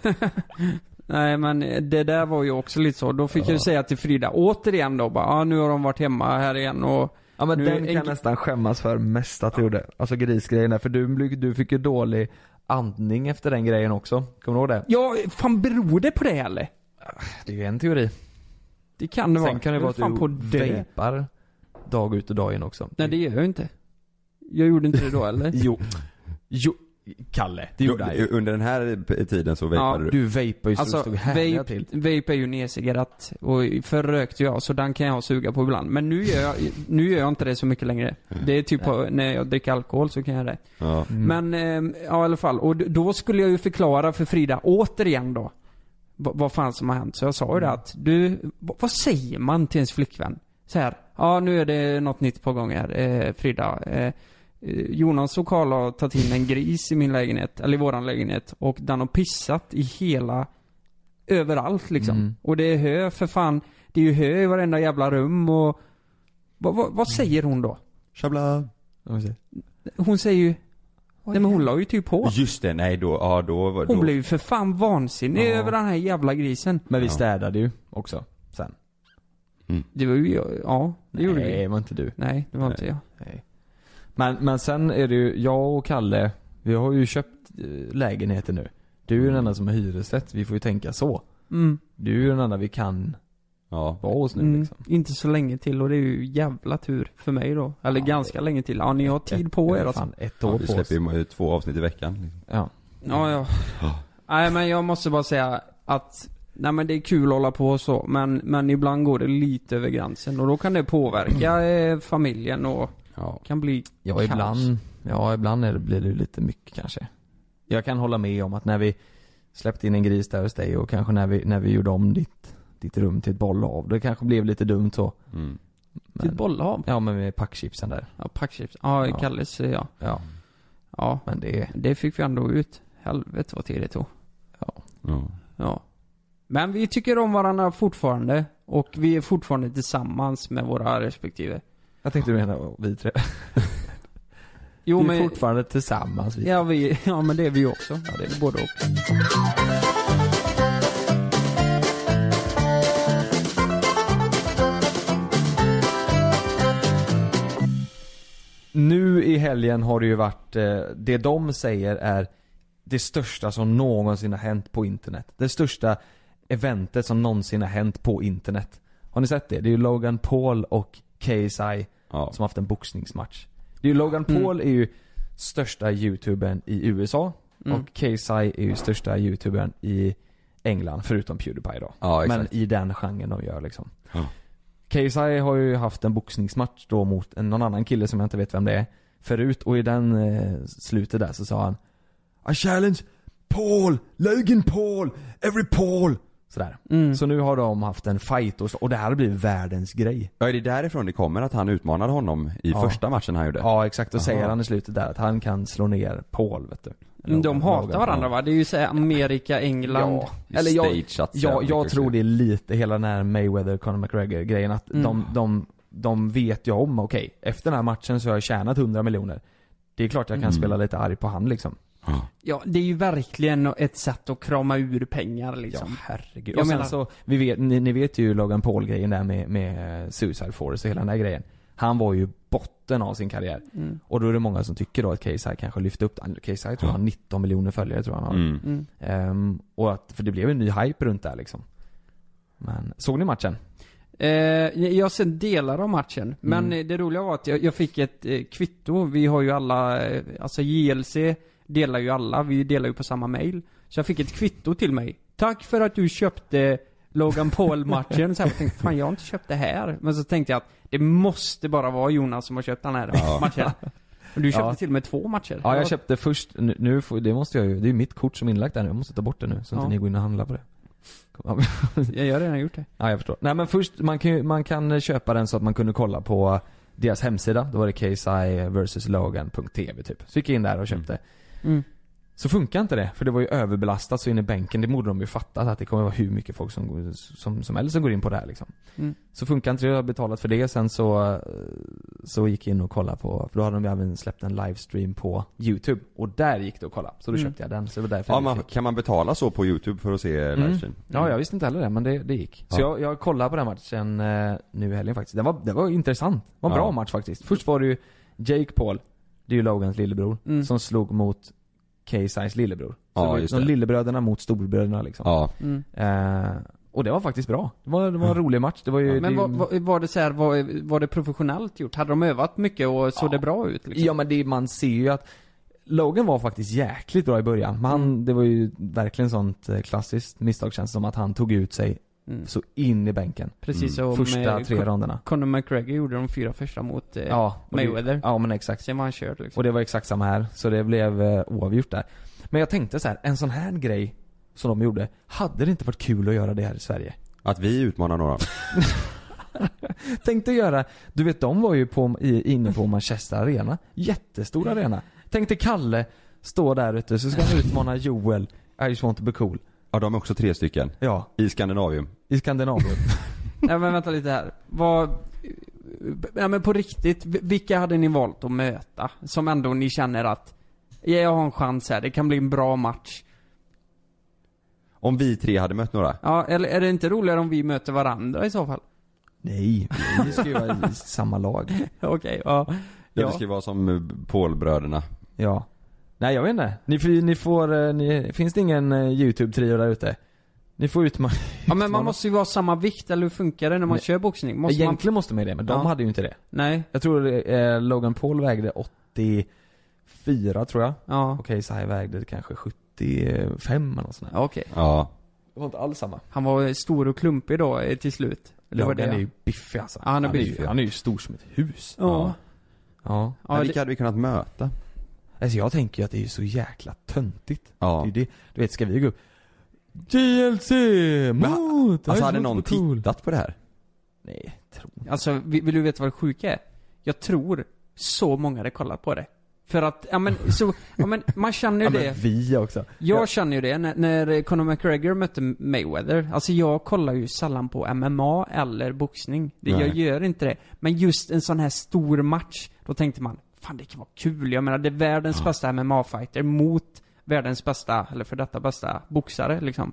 Nej men det där var ju också lite så. Då fick jag ju säga till Frida återigen då bara, ah, nu har de varit hemma här igen och
Ja men
Nu-
den kan
en-
jag nästan skämmas för mest att du gjorde. Alltså grisgrejen där, för du, blev- du fick ju dålig andning efter den grejen också. Kommer du ihåg det?
Ja, fan beror det på det eller?
Det är ju en teori.
Det kan det vara.
Sen kan det
Jag
vara
beror fan på
att du
det.
vejpar dag ut och dag in också. <laughs>
Nej det gör jag ju inte. Jag gjorde inte det då eller?
Jo. Jo. Kalle, det gjorde han ju.
Under den här p- tiden så vejpade du?
Du vejpar ju så
Alltså,
du stod härliga
vape,
till.
vape är ju nercigarett. Och förr rökte jag, så den kan jag suga på ibland. Men nu gör jag, nu gör jag inte det så mycket längre.
Mm.
Det är typ på, när jag dricker alkohol så kan jag det.
Ja.
Men, eh, ja i alla fall. Och d- då skulle jag ju förklara för Frida, återigen då. v- Vad fan som har hänt. Så jag sa ju det att, du, v- vad säger man till ens flickvän? Så här, ja nu är det något nytt på gång här, eh, Frida. Eh, eh, Jonas och Karl har tagit in en gris i min lägenhet, eller i våran lägenhet. Och den har pissat i hela, överallt liksom.
Mm.
Och det är hö för fan. Det är ju hö i varenda jävla rum och... Vad, vad, vad säger hon då?
Shabla.
Hon säger ju... Nej men hon la ju typ på.
Just det, nej då, ja då var
Hon
då,
blev ju för fan vansinnig
Ja.
över den här jävla grisen.
Men vi städade ju också sen.
Det var ju jag, ja. Det gjorde
Nej,
vi.
var inte du.
Nej, det var inte jag.
Men, men sen är det ju, jag och Kalle, vi har ju köpt eh, lägenheter nu. Du är ju den enda som har hyresrätt, vi får ju tänka så.
Mm.
Du är ju den enda vi kan
Ja.
vara hos nu
Mm.
liksom.
Inte så länge till och det är ju jävla tur för mig då. Eller
Ja,
ganska länge till. Ja, ni har tid på
Ett-
er alltså.
Fan, ett år
Ja,
på
vi
oss.
släpper ju två avsnitt i veckan. liksom.
Ja.
Ja, ja.
Ja.
Nej men jag måste bara säga att Nej men det är kul att hålla på och så men, men ibland går det lite över gränsen och då kan
<clears throat>
det påverka eh, familjen och
Ja.
kan bli
Ja,
kaos.
ibland, ja, ibland är det, blir det ju lite mycket kanske. Jag kan hålla med om att när vi släppte in en gris där hos dig och kanske när vi, när vi gjorde om ditt, ditt rum till ett bollhav. Det kanske blev lite dumt så.
Mm.
Till ett
Men,
bollhav?
ja men med packchipsen där.
Ja, packchips. Ja,
Ja.
Kalles eh, ja.
Ja,
Ja.
men det är,
Det fick vi ändå ut. Helvete vad tid det tog.
Ja.
Ja. Men vi tycker om varandra fortfarande. Och vi är fortfarande tillsammans med våra respektive.
jag tänkte du menar vi tre.
Jo
vi är
men...
fortfarande tillsammans. Vi.
Ja, vi, ja men det är vi också. Ja, det är både och.
Nu i helgen har det ju varit, eh, det de säger är det största som någonsin har hänt på internet. Det största eventet som någonsin har hänt på internet. Har ni sett det? Det är ju Logan Paul och KSI
Ja.
som har haft en boxningsmatch. Det är ju Logan
Mm.
Paul är ju största youtubern i USA
Mm.
och KSI är ju största youtubern i England förutom Pewdiepie då.
Ja,
Men
exakt.
i den genren de gör liksom.
Ja.
KSI har ju haft en boxningsmatch då mot en, någon annan kille som jag inte vet vem det är förut och i den eh, slutet där så sa han I challenge Paul, Logan Paul, every Paul. Sådär.
Mm.
Så nu har de haft en fight och, så, och det här blir världens grej.
Ja, är det därifrån det kommer att han utmanade honom i
Ja.
första matchen han gjorde?
Ja exakt, och
Aha.
säger han i slutet där att han kan slå ner Paul vet du.
Mm, De
Logan-
hatar
Logan.
varandra va? Det är ju såhär Amerika, England.
Ja, eller jag,
Stageat så
jag,
jävla
jag
mycket
tror
också.
det är lite hela den här Mayweather, Conor McGregor grejen att
Mm.
de, de, de vet ju om, okej, efter den här matchen så har jag tjänat 100 miljoner. Det är klart jag kan
Mm.
spela lite arg på han liksom.
Ja, det är ju verkligen ett sätt att krama ur pengar
Ja
liksom.
herregud.
Jag
och sen
menar-
så, vi vet, ni, ni vet ju Logan Paul grejen där med, med eh, Suicide Force och hela den där grejen. Han var ju botten av sin karriär.
Mm.
Och då är det många som tycker då att KSI kanske lyfte upp han- KSI tror jag har 19 miljoner följare tror jag han har.
Mm.
Mm.
Ehm, och att, för det blev ju en ny hype runt där liksom. Men, såg ni matchen?
Eh, jag ser delar av matchen, men
Mm.
eh, det roliga var att jag, jag fick ett eh, kvitto. Vi har ju alla, eh, alltså JLC delar ju alla, vi delar ju på samma mail. Så jag fick ett kvitto till mig. Tack för att du köpte Logan Paul-matchen. Så här, jag tänkte, fan jag har inte köpt det här. Men så tänkte jag att det måste bara vara Jonas som har köpt den här <laughs> matchen. Och du köpte
Ja.
till och med två matcher.
Ja jag köpte först, nu, nu får, det måste jag ju, det är ju mitt kort som är inlagt där nu, jag måste ta bort det nu så
Ja.
inte ni går in och handlar på det. Kom,
Jag har redan gjort det.
Ja jag förstår. Nej men först, man kan, ju- man kan eh, köpa den så att man kunde kolla på deras hemsida. Då var det KSI vs Logan.tv typ. Så gick jag in där och köpte.
Mm.
Så funkar inte det, för det var ju överbelastat så in i bänken. Det borde de ju fattat att det kommer vara hur mycket folk som, går- som, som helst som går in på det här liksom.
Mm.
Så funkar inte det, jag har betalat för det. Sen så, eh, så gick jag in och kollade på, för då hade de ju även släppt en livestream på YouTube. Och där gick det att kolla. Så då
Mm.
köpte jag den. Så det var därför
Ja,
jag
man,
fick.
kan man betala så på youtube för att se livestream?
Ja, jag visste inte heller det, men det, det gick. Så
Mm. Ja.
jag, jag kollade på den matchen eh, nu i helgen faktiskt. Det var, det var intressant. Det var en bra
Ja.
match faktiskt. Först var det ju Jake Paul, det är ju Logans lillebror,
Mm.
som slog mot KSI's lillebror. Så
Ja,
det var ju
just
de
det.
lillebröderna mot storbröderna liksom.
Ja.
Mm.
Eh, och det var faktiskt bra. Det var, det var en
Mm.
rolig match. Det var ju...
Men
det,
var, var, var det så här, var, var det professionellt gjort? Hade de övat mycket och såg det bra ut? Liksom?
Ja men det, man ser ju att Logan var faktiskt jäkligt bra i början. Men
Mm.
han, det var ju verkligen sånt eh, klassiskt misstag känns det som att han tog ut sig
Mm.
så in i bänken.
Precis som
Mm. Första
eh,
tre ronderna.
Conor McGregor gjorde de fyra första mot eh,
Ja, och det-
Mayweather.
Ja men exakt.
Sen var han körd liksom.
Och det var exakt samma här, så det blev eh, oavgjort där. Men jag tänkte så här, en sån här grej som de gjorde, hade det inte varit kul att göra det här i Sverige?
Att vi utmanar några.
Tänkte göra, du vet de var ju på, i, inne på Manchester Arena, jättestor arena. Tänkte Kalle stå där ute, så ska han utmana Joel, I just want to be cool.
Ja, de är också tre stycken.
Ja,
I Skandinavium.
i Skandinavien.
Nej men vänta lite här. Vad... Ja men på riktigt, vi- vilka hade ni valt att möta? Som ändå ni känner att, ja, jag har en chans här, det kan bli en bra match.
Om vi tre hade mött några.
Ja, eller är det inte roligare om vi möter varandra i så fall? <laughs>
Nej, vi ska ju vara i samma lag.
Okej, ja.
Ja. Det skulle vara som eh, Paulbröderna.
Ja. Nej jag vet inte. Ni, får- ni får, eh, ni, finns det ingen eh, YouTube-trio där ute? Ni får utmana
Ja men man måste ju vara samma vikt, eller hur funkar det när man
Nej.
kör boxning? Måste man...
Egentligen måste man ju det, men de
Ja.
hade ju inte det.
Nej.
Jag tror eh, Logan Paul vägde 84 tror jag.
Ja.
Och Sai vägde kanske 75 eller något sånt där.
Ja, Okej.
Ja.
Det var inte alls samma.
Han var stor och klumpig då eh, till slut. Eller var
Logan
det
är ju
ja.
biffig alltså.
Ja, han är
ju-
biffig.
han är ju stor som ett hus.
Ja.
Ja.
Ja,
Men
det-
vilka hade vi kunnat möta?
Alltså jag tänker ju att det är ju så jäkla töntigt.
Ja.
Det är ju det. Du vet, ska vi gå upp? JLC mot...
Alltså
Ice
hade
Mot
någon
Cool.
tittat på det här?
Nej, tror
Alltså, vi- vill du veta vad det sjuka är? Jag tror så många hade kollat på det. För att, ja men så, ja men man känner ju
Ja,
det.
men vi också.
Jag känner ju det, när, när Conor McGregor mötte Mayweather, alltså jag kollar ju sällan på MMA eller boxning. Det, jag
Nej.
gör inte det. Men just en sån här stor match, då tänkte man, fan det kan vara kul. Jag menar, det är världens bästa MMA-fighter mot världens bästa, eller för detta bästa, boxare liksom.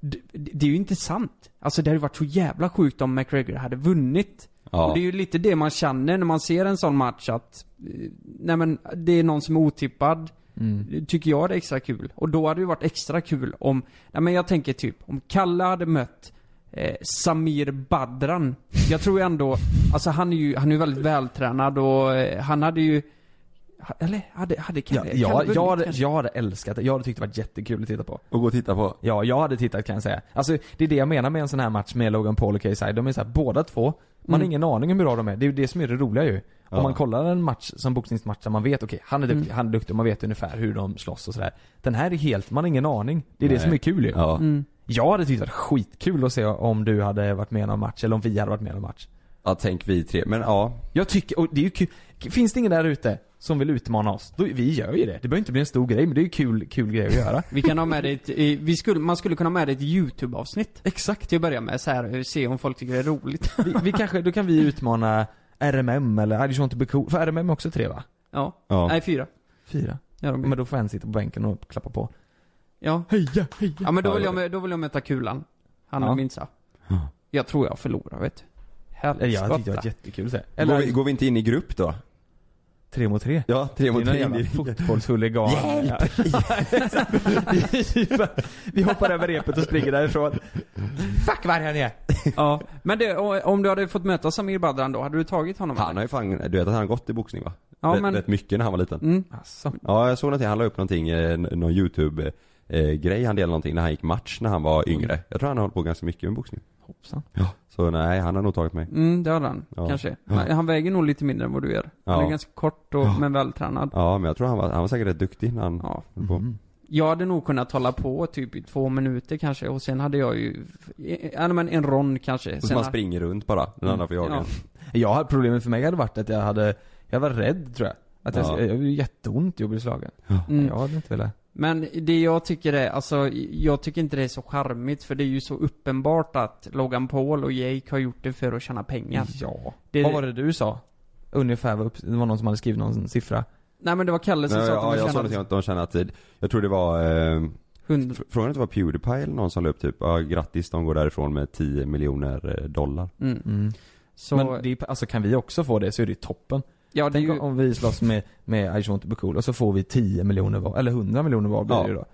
Det, det det är ju inte sant. Alltså det hade varit så jävla sjukt om McGregor hade vunnit.
Ja.
Och det är ju lite det man känner när man ser en sån match att, eh, nej men det är någon som är otippad.
Mm.
Det Tycker jag det är extra kul. Och då hade det varit extra kul om, nej men jag tänker typ, om Kalle hade mött eh, Samir Badran. Jag tror ändå, alltså han är ju, han är ju väldigt vältränad och eh, han hade ju, ha- eller hade, hade
Ja,
Kalle, Kalle
jag,
vunnit
jag, hade,
kanske?
jag hade älskat det. Jag hade tyckt det varit jättekul att titta på.
Och gå och titta på?
Ja, jag hade tittat kan jag säga. Alltså det är det jag menar med en sån här match med Logan Paul och KSI. De är så här, båda två, man har
Mm.
ingen aning om hur bra de är. Det är ju det som är det roliga ju. Om man kollar en match som boxningsmatch där man vet, okej han är
Mm.
duktig, han är duktig och man vet ungefär hur de slåss och sådär. Den här är helt, man har ingen aning. Det är det
Nej.
som är kul ju.
Ja.
Jag hade tyckt det var skitkul att se om du hade varit med i någon match, eller om vi hade varit med i någon match.
ja, tänk vi tre. Men ja.
Jag tycker, och det är ju kul. Finns det ingen där ute som vill utmana oss, då, vi gör ju det. Det behöver inte bli en stor grej, men det är ju kul, kul grej att göra.
Vi kan ha med det i ett, i, vi skulle, man skulle kunna ha med det i ett YouTube-avsnitt.
Exakt.
Till att börja med så här, eh, se om folk tycker det är roligt. <laughs>
Vi, vi kanske, då kan vi utmana RMM eller I just want to be cool. För RMM är också tre va?
Ja.
Ja.
Nej, fyra.
Fyra.
Ja, de,
Men då får en sitta på bänken och klappa på.
ja.
Mm. Heja, heja.
ja men då
Ja,
vill,
det-
jag, mö- då vill jag möta Kulan. Han
Ja.
och Minsa. Jag tror jag förlorar
<laughs>
vet du.
Eller jag
Helskotta.
tyckte det var jättekul att se.
Eller...
Eller
Går, vi, går vi inte in i grupp då?
tre mot tre.
Ja, tre mot
Det är
tre.
någon jävla fotbollshuligan. <laughs> vi hoppar över repet och springer därifrån. Fuck vad han är!
Ja. Men det, och- om du hade fått möta Samir Badran då, hade du tagit honom?
Han har ju fan, du vet att han har gått i boxning va?
Ja,
rätt,
men-
rätt mycket när han var liten.
Mm.
Alltså.
Ja, jag såg någonting, han la upp någonting, eh, n- någon youtube eh, grej han delade någonting när han gick match när han var yngre. Jag tror han har hållit på ganska mycket med boxning.
Hoppsan.
Ja. Så nej, han har nog tagit mig.
Mm, det hade han.
Ja.
Kanske.
Ja.
Men Han väger nog lite mindre än vad du gör. Han
Ja.
är ganska kort och, men vältränad.
Ja, men jag tror han var, han var säkert rätt duktig när han
Ja. Mm.
höll på.
Jag hade nog kunnat hålla på typ i två minuter kanske och sen hade jag ju, ja men en rond kanske.
Så
Sen
man springer runt bara, den andra får jaga
Mm. ja.
en.
Jag, hade- problemet för mig hade varit att jag hade, jag var rädd tror jag. Att jag,
Ja.
jag, blev jätteont i att bli slagen.
Mm.
Jag hade inte velat.
Men det jag tycker är, alltså jag tycker inte det är så charmigt för det är ju så uppenbart att Logan Paul och Jake har gjort det för att tjäna pengar.
Mm. Ja.
Det-
Vad var det du sa? Ungefär, vad upp, det var någon som hade skrivit någon siffra.
Nej men det var Kalle som
Nej,
sa att
ja,
de
jag såg
tjänade
någonting om att de kände att, eh, jag tror det var, eh,
hund...
fr- frågan inte var Pewdiepie eller någon som la upp typ, ja grattis de går därifrån med 10 miljoner eh, dollar.
Mm.
Mm.
Så,
Men det är, alltså kan vi också få det så är det ju toppen.
ja det är
Tänk
ju,
om vi slåss med, med I just want to be cool och så får vi 10 miljoner var, eller 100 miljoner var blir
Ja.
det ju då.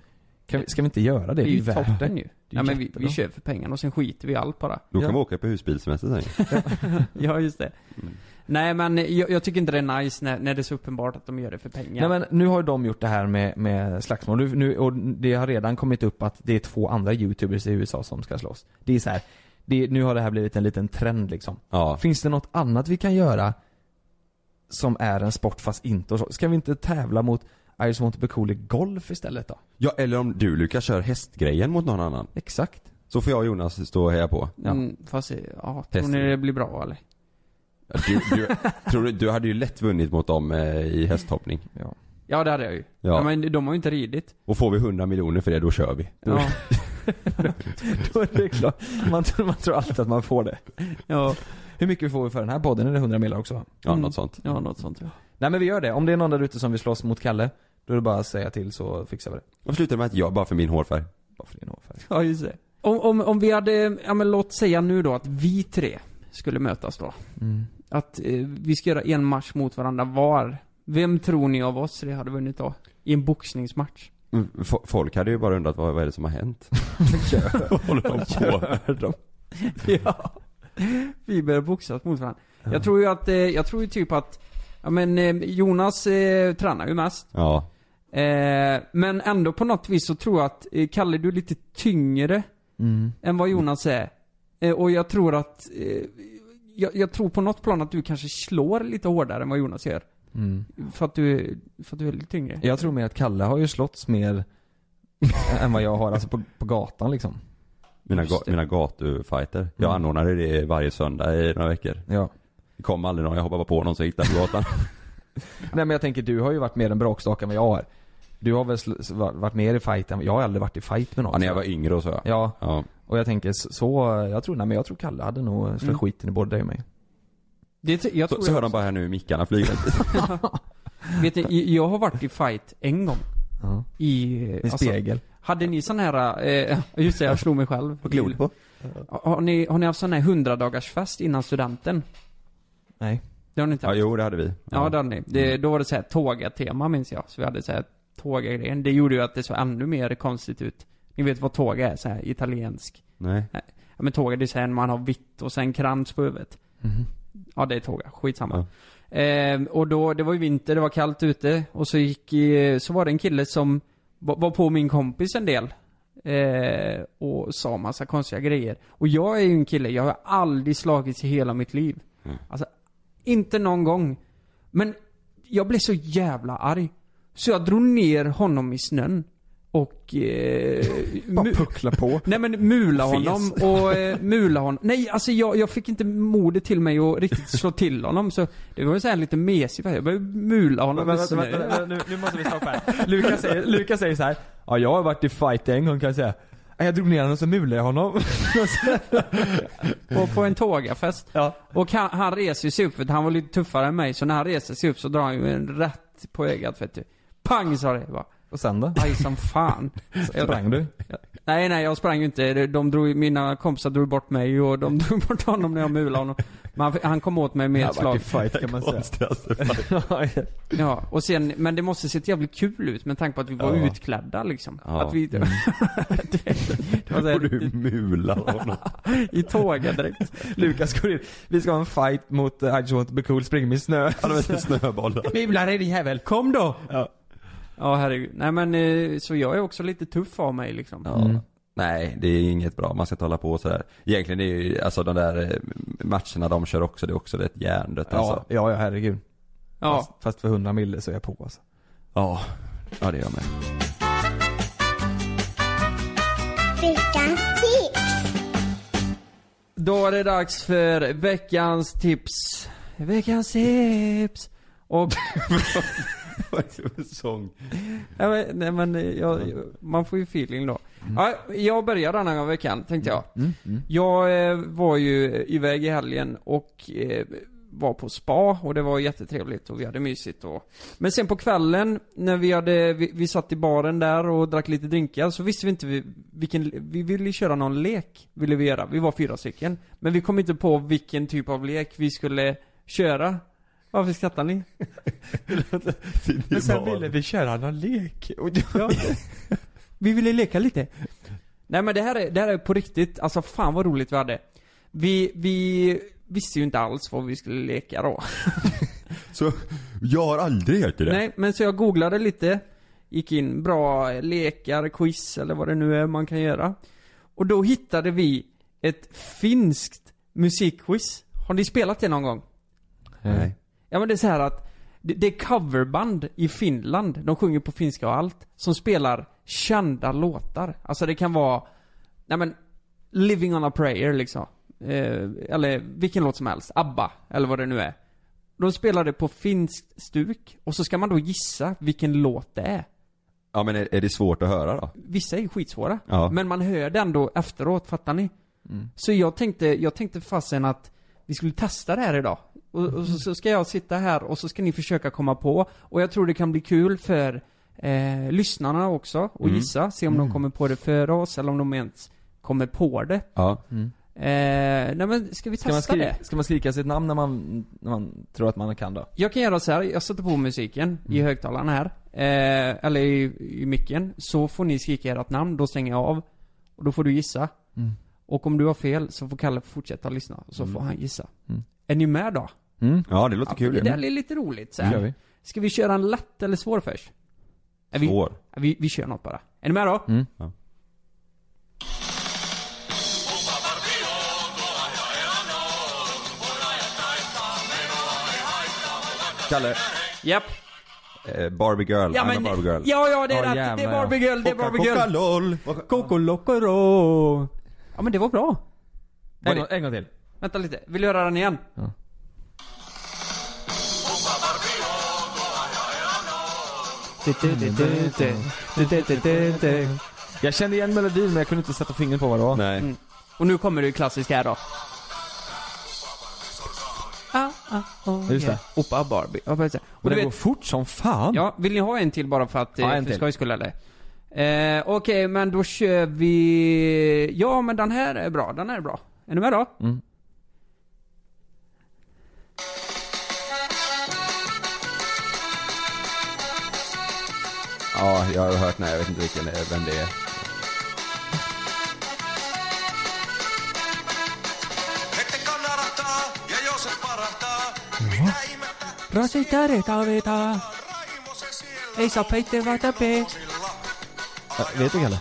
Kan vi, ska vi inte göra det?
Det är ju
värt
toppen ju.
är
Ja, men vi,
jättebra.
vi köper pengarna och sen skiter vi i allt bara. <laughs>
Då kan
Ja.
vi åka på husbilsemester sen
Ja, just det.
Mm.
Nej men jag, jag tycker inte det är nice när, när det är så uppenbart att de gör det för pengar.
Nej men nu har ju de gjort det här med, med slagsmål Nu- nu, och det har redan kommit upp att det är två andra youtubers i USA som ska slåss. Det är så här, det, nu har det här blivit en liten trend liksom.
Ja,
Finns det något annat vi kan göra som är en sport fast inte och så? Ska vi inte tävla mot I just want to be cool i golf istället då?
ja eller om du Lukas kör hästgrejen mot någon annan
Exakt.
Så får jag och Jonas stå och heja på
Ja.
Mm, fast, ja, tror
Testar.
ni det blir bra eller?
Ja, du, du, tror du, du hade ju lätt vunnit mot dem eh, i hästhoppning
Ja.
Ja det hade jag ju.
Ja.
Ja. men de har ju inte ridit.
Och får vi 100 miljoner för det, då kör vi
Ja.
<laughs> Då är det klart. Man tror, man tror alltid att man får det.
ja.
Hur mycket får vi för den här podden? Är det 100 miljoner också?
Ja,
Mm.
något sånt
Ja, något sånt. Ja.
Nej men vi gör det. Om det är någon där ute som vill slåss mot Kalle, då är det bara att säga till så fixar vi det.
Varför slutar det med att jag, bara för min hårfärg?
Bara för din hårfärg.
<laughs> ja, just det. Om, om, om vi hade, ja men låt säga nu då att vi tre skulle mötas då.
Mm.
Att eh, vi ska göra en match mot varandra var. Vem tror ni av oss det hade vunnit då? I en boxningsmatch?
Mm, fo- Folk hade ju bara undrat vad, vad är det som har hänt? Vad håller de på?
ja. <laughs> Vi börjar boxas mot varandra. Jag tror ju att, eh, jag tror ju typ att, ja men eh, Jonas eh, tränar ju mest.
Ja,
Eh, men ändå på något vis så tror jag att eh, Kalle du är lite tyngre än vad Jonas är. Eh, och jag tror att, eh, jag, jag tror på något plan att du kanske slår lite hårdare än vad Jonas gör.
Mm.
För att du, för att du är lite tyngre.
Jag tror mer att Kalle har ju slåtts mer <laughs> än vad jag har, alltså på, på gatan liksom.
mina,
Just
ga,
det.
mina gatufighter
Mm.
Jag anordnade det varje söndag i några veckor
Ja.
Det kom aldrig någon, jag hoppade bara på någon som gick där på gatan
Nej men jag tänker, du har ju varit mer en bråkstake än vad jag har. Du har väl sl- va- varit mer i fight än, jag har aldrig varit i fight med någon.
ja, när jag var yngre och så ja.
Ja,
ja.
och jag tänker så- så, jag tror, nej men jag tror Kalle hade nog slagit
Mm.
skiten i både dig och mig.
Det, t- jag
Så,
tror
så
jag
hör de bara här nu i mickarna flyga
Vet ni, jag har varit i fight en gång.
Ja.
I, eh,
I
alltså,
spegel.
hade ni sån här, eh, <laughs> just det jag slog mig själv.
På klor på?
Har ni, har ni haft sån här hundradagarsfest innan studenten?
Nej.
Det har ni inte
Ja,
haft?
jo det hade vi
Ja, det hade ni. Det, då var det så här tåga-tema minns jag. Så vi hade så här tåga-grejen. Det gjorde ju att det såg ännu mer konstigt ut. Ni vet vad tåga är? Så här italiensk.
Nej
Ja men tåga, det är så här när man har vitt och sen krans på huvudet.
Mhm.
Ja det är tåga, skitsamma. Ehm, och då, det var ju vinter, det var kallt ute. Och så gick, eh, så var det en kille som var, var på min kompis en del. Eh, och sa massa konstiga grejer. Och jag är ju en kille, jag har aldrig slagits i hela mitt liv.
Mm.
Alltså, inte någon gång. Men jag blev så jävla arg. Så jag drog ner honom i snön. Och... Eh,
<laughs> Bara
mu-
puckla på.
Nej men mula honom och eh, mula honom. Nej alltså jag, jag fick inte modet till mig att riktigt slå till honom så det var ju såhär lite mesig Jag började mula honom.
nu, måste vi stoppa här. Lukas säger, Lukas säger så här. Ja jag har varit i fight en gång kan jag säga. Ja, Jag drog ner honom och så mulade jag honom. <laughs>
på, på en tågafest.
Ja.
Och han, han reser sig upp för att han var lite tuffare än mig så när han reser sig upp så drar han ju en rätt på ögat vet du. Pang sa det bara.
Och sen då?
Aj som fan.
Sprang du?
Nej nej jag sprang ju inte. De drog, mina kompisar drog bort mig och de <laughs> drog bort honom när jag mulade honom. Men han, han kom åt mig med ett slag.
fight kan man säga.
<laughs> Ja, och sen, men det måste se jävligt kul ut med tanke på att vi var utklädda liksom.
Ja. Mm.
Att vi... <laughs> det, det var så
Och du
här,
mular honom
i tåget direkt.
Lukas går in, vi ska ha en fight mot uh, I just want to be cool, spring med snö.
Han har snöbollar
Mula dig din jävel, kom då! Ja.
Ja, herregud. Nej men, eh, så jag är också lite tuff av mig liksom.
Ja. Nej, det är inget bra. Man ska inte hålla på sådär. Egentligen är ju, alltså de där eh, matcherna de kör också, det är också rätt hjärndött
Ja,
alltså.
ja, ja herregud.
Ja.
Fast, fast för 100 mille så är jag på alltså.
Ja. Ja, det gör jag med.
Veckans tips.
Då är det dags för veckans tips. Veckans tips. Och,
Vad är det för sång?
nej men, nej, men eh, jag, man får ju feeling då. Ja, jag börjar den här veckan, tänkte jag. Jag eh, var ju iväg i helgen och eh, var på spa och det var jättetrevligt och vi hade mysigt och Men sen på kvällen när vi hade, vi, vi satt i baren där och drack lite drinkar så visste vi inte vi, vilken, vi ville ju köra någon lek, ville vi göra. Vi var fyra stycken. Men vi kom inte på vilken typ av lek vi skulle köra. Varför skrattar ni?
Men sen ville vi köra någon lek. Och,
Ja. <laughs> vi ville leka lite. Nej men det här är, det här är på riktigt, alltså fan vad roligt vi hade. Vi, vi visste ju inte alls vad vi skulle leka då.
Så, jag har aldrig hört det
Nej, men så jag googlade lite. Gick in bra lekar, quiz eller vad det nu är man kan göra. Och då hittade vi ett finskt musikquiz. Har ni spelat det någon gång? Mm.
Nej.
Ja men det är så här att det, det är coverband i Finland, de sjunger på finska och allt, som spelar kända låtar. Alltså det kan vara, nej men, Living on a prayer liksom. Eh, eller vilken låt som helst, ABBA, eller vad det nu är. De spelar det på finskt stuk, och så ska man då gissa vilken låt det är.
Ja men är, är det svårt att höra då?
Vissa är ju skitsvåra.
Ja.
Men man hör det ändå efteråt, fattar ni?
Mm.
Så jag tänkte, jag tänkte fasen att vi skulle testa det här idag. Och, och så, så ska jag sitta här och så ska ni försöka komma på. Och jag tror det kan bli kul för eh, lyssnarna också att
Mm.
gissa. Se om de kommer på det före oss eller om de ens kommer på det.
Ja.
Eh, nej men ska vi
Ska
testa
man, skrika,
det?
ska man skrika sitt namn när man, när man tror att man kan då?
Jag kan göra så här. jag sätter på musiken i högtalaren här. Eh, eller i, i micken. Så får ni skrika ert namn, då stänger jag av. Och då får du gissa. Och om du har fel så får Kalle fortsätta lyssna. Och så får han gissa. Är ni med då?
Ja det låter kul
Det
ju.
där är lite roligt så
Det gör vi.
här. Ska vi köra en lätt eller svår först? Är vi,
Svår.
är Vi, vi kör något bara. Är ni med då?
Mm.
Ja. Kalle,
Japp.
eh, Barbie Girl, I'm a Barbie Girl.
Ja, ja det är
Ja,
rätt. det är
jävlar, ja.
Barbie Girl, det är Barbie Girl.
LOL.
Coco Locoro. Ja men det var bra.
En, gång- en gång till.
Vänta lite, vill du höra den igen?
Jag kände igen melodin men jag kunde inte sätta fingret på vad det var.
Nej.
Och nu kommer det klassiska här då. Ah, ah, oh,
Just
yeah.
det.
Opa Barbie. Ja, precis.
Och
Och
det
du
går
vet,
fort som fan.
ja, vill ni ha en till bara för att, eh,
Ja, en
för
till.
skojs skull eller? Eh, Okej, men då kör vi... Ja, men den här är bra, den här är bra. Är ni med då? Mm.
Ja, jag har hört den här, jag vet inte vilken, det är- vem det är.
Rasita reta veta. Eisa peite vata pe.
Vet du Kalle?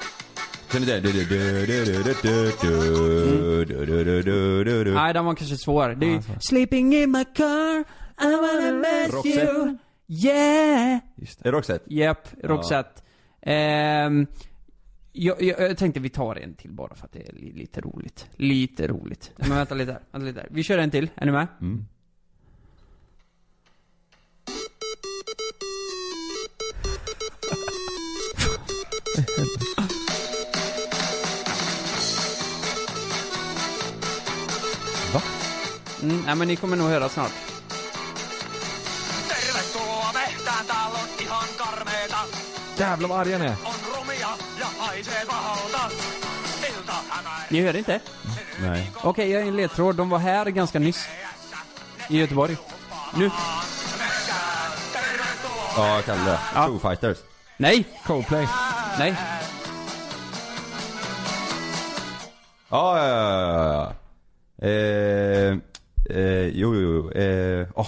Känner du det? Du, du, du, du, du, du, du, du, du, du, du, du, du.
Nej, den var kanske svår. Det är ju Sleeping in my car, I wanna miss
Roxette.
you. Yeah!
Är det Roxette?
Japp, Roxette. Ehm, jag, jag, jag tänkte vi tar en till bara för att det är li- lite roligt. Lite roligt. Men vänta lite här, vänta lite här. Vi kör en till, är ni med? <laughs>
Va?
Mm, nej men ni kommer nog höra snart.
Jävlar vad arg han är.
Ni hör inte?
Nej.
Okej, jag är en ledtråd. De var här ganska nyss. I Göteborg. Nu.
Ja, Kalle. Foo Fighters.
Nej!
Coldplay.
Nej.
Ja, ja, ja, ja, ja. Eh, eh, jo, jo, jo. Eh, åh,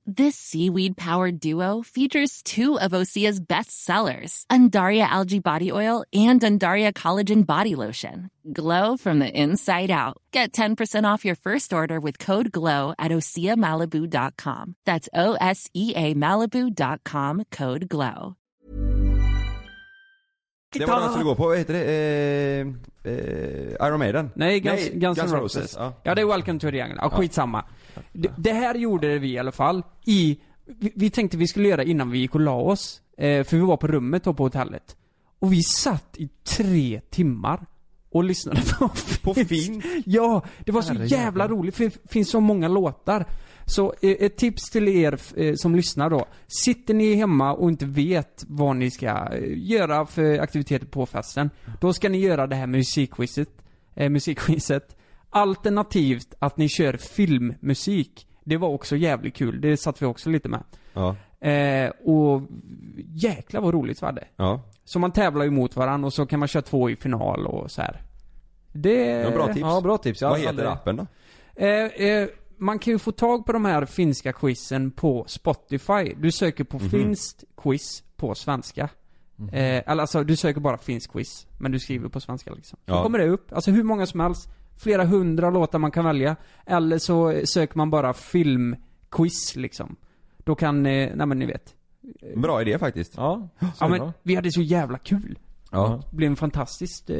This seaweed powered duo features two of Osea's best sellers, Undaria Algae Body Oil and Undaria Collagen Body Lotion. Glow from the inside out. Get 10% off your first order with code GLOW at OseaMalibu.com. That's O S E A Malibu.com code GLOW.
Det var de jag skulle gå på. Vad heter det? Eh, eh, Iron Maiden?
Nej, Guns, Guns, N' Roses.
Ja.
Ja. det är Welcome to the Jungle. Ja, skitsamma. D- Det här gjorde vi i alla fall i... Vi, vi tänkte vi skulle göra innan vi gick och la oss. Eh, för vi var på rummet då på hotellet. Och vi satt i tre timmar och lyssnade på
På Finns?
Ja, det var så jävla roligt för det finns så många låtar. Så eh, ett tips till er eh, som lyssnar då. Sitter ni hemma och inte vet vad ni ska eh, göra för aktiviteter på festen. Då ska ni göra det här musikquizet. Eh, musikquizet. Alternativt att ni kör filmmusik. Det var också jävligt kul. Det satt vi också lite med.
Ja.
Eh, och jäklar vad roligt vi hade.
Ja.
Så man tävlar ju mot varandra och så kan man köra två i final och så här. Det...
Det var bra tips.
Ja, bra tips. Jag har
Vad heter
aldrig-
appen då?
Eh, eh, man kan ju få tag på de här finska quizen på Spotify. Du söker
Mhm.
på finskt quiz på svenska. Eh, eller alltså, du söker bara finsk quiz, men du skriver på svenska liksom. Då
Ja.
kommer det upp. Alltså hur många som helst. Flera hundra låtar man kan välja. Eller så eh, söker man bara filmquiz liksom. Då kan, eh, nej men ni vet.
Bra idé faktiskt.
Ja,
Ja men vi hade så jävla kul.
Ja.
Det blev en fantastiskt eh,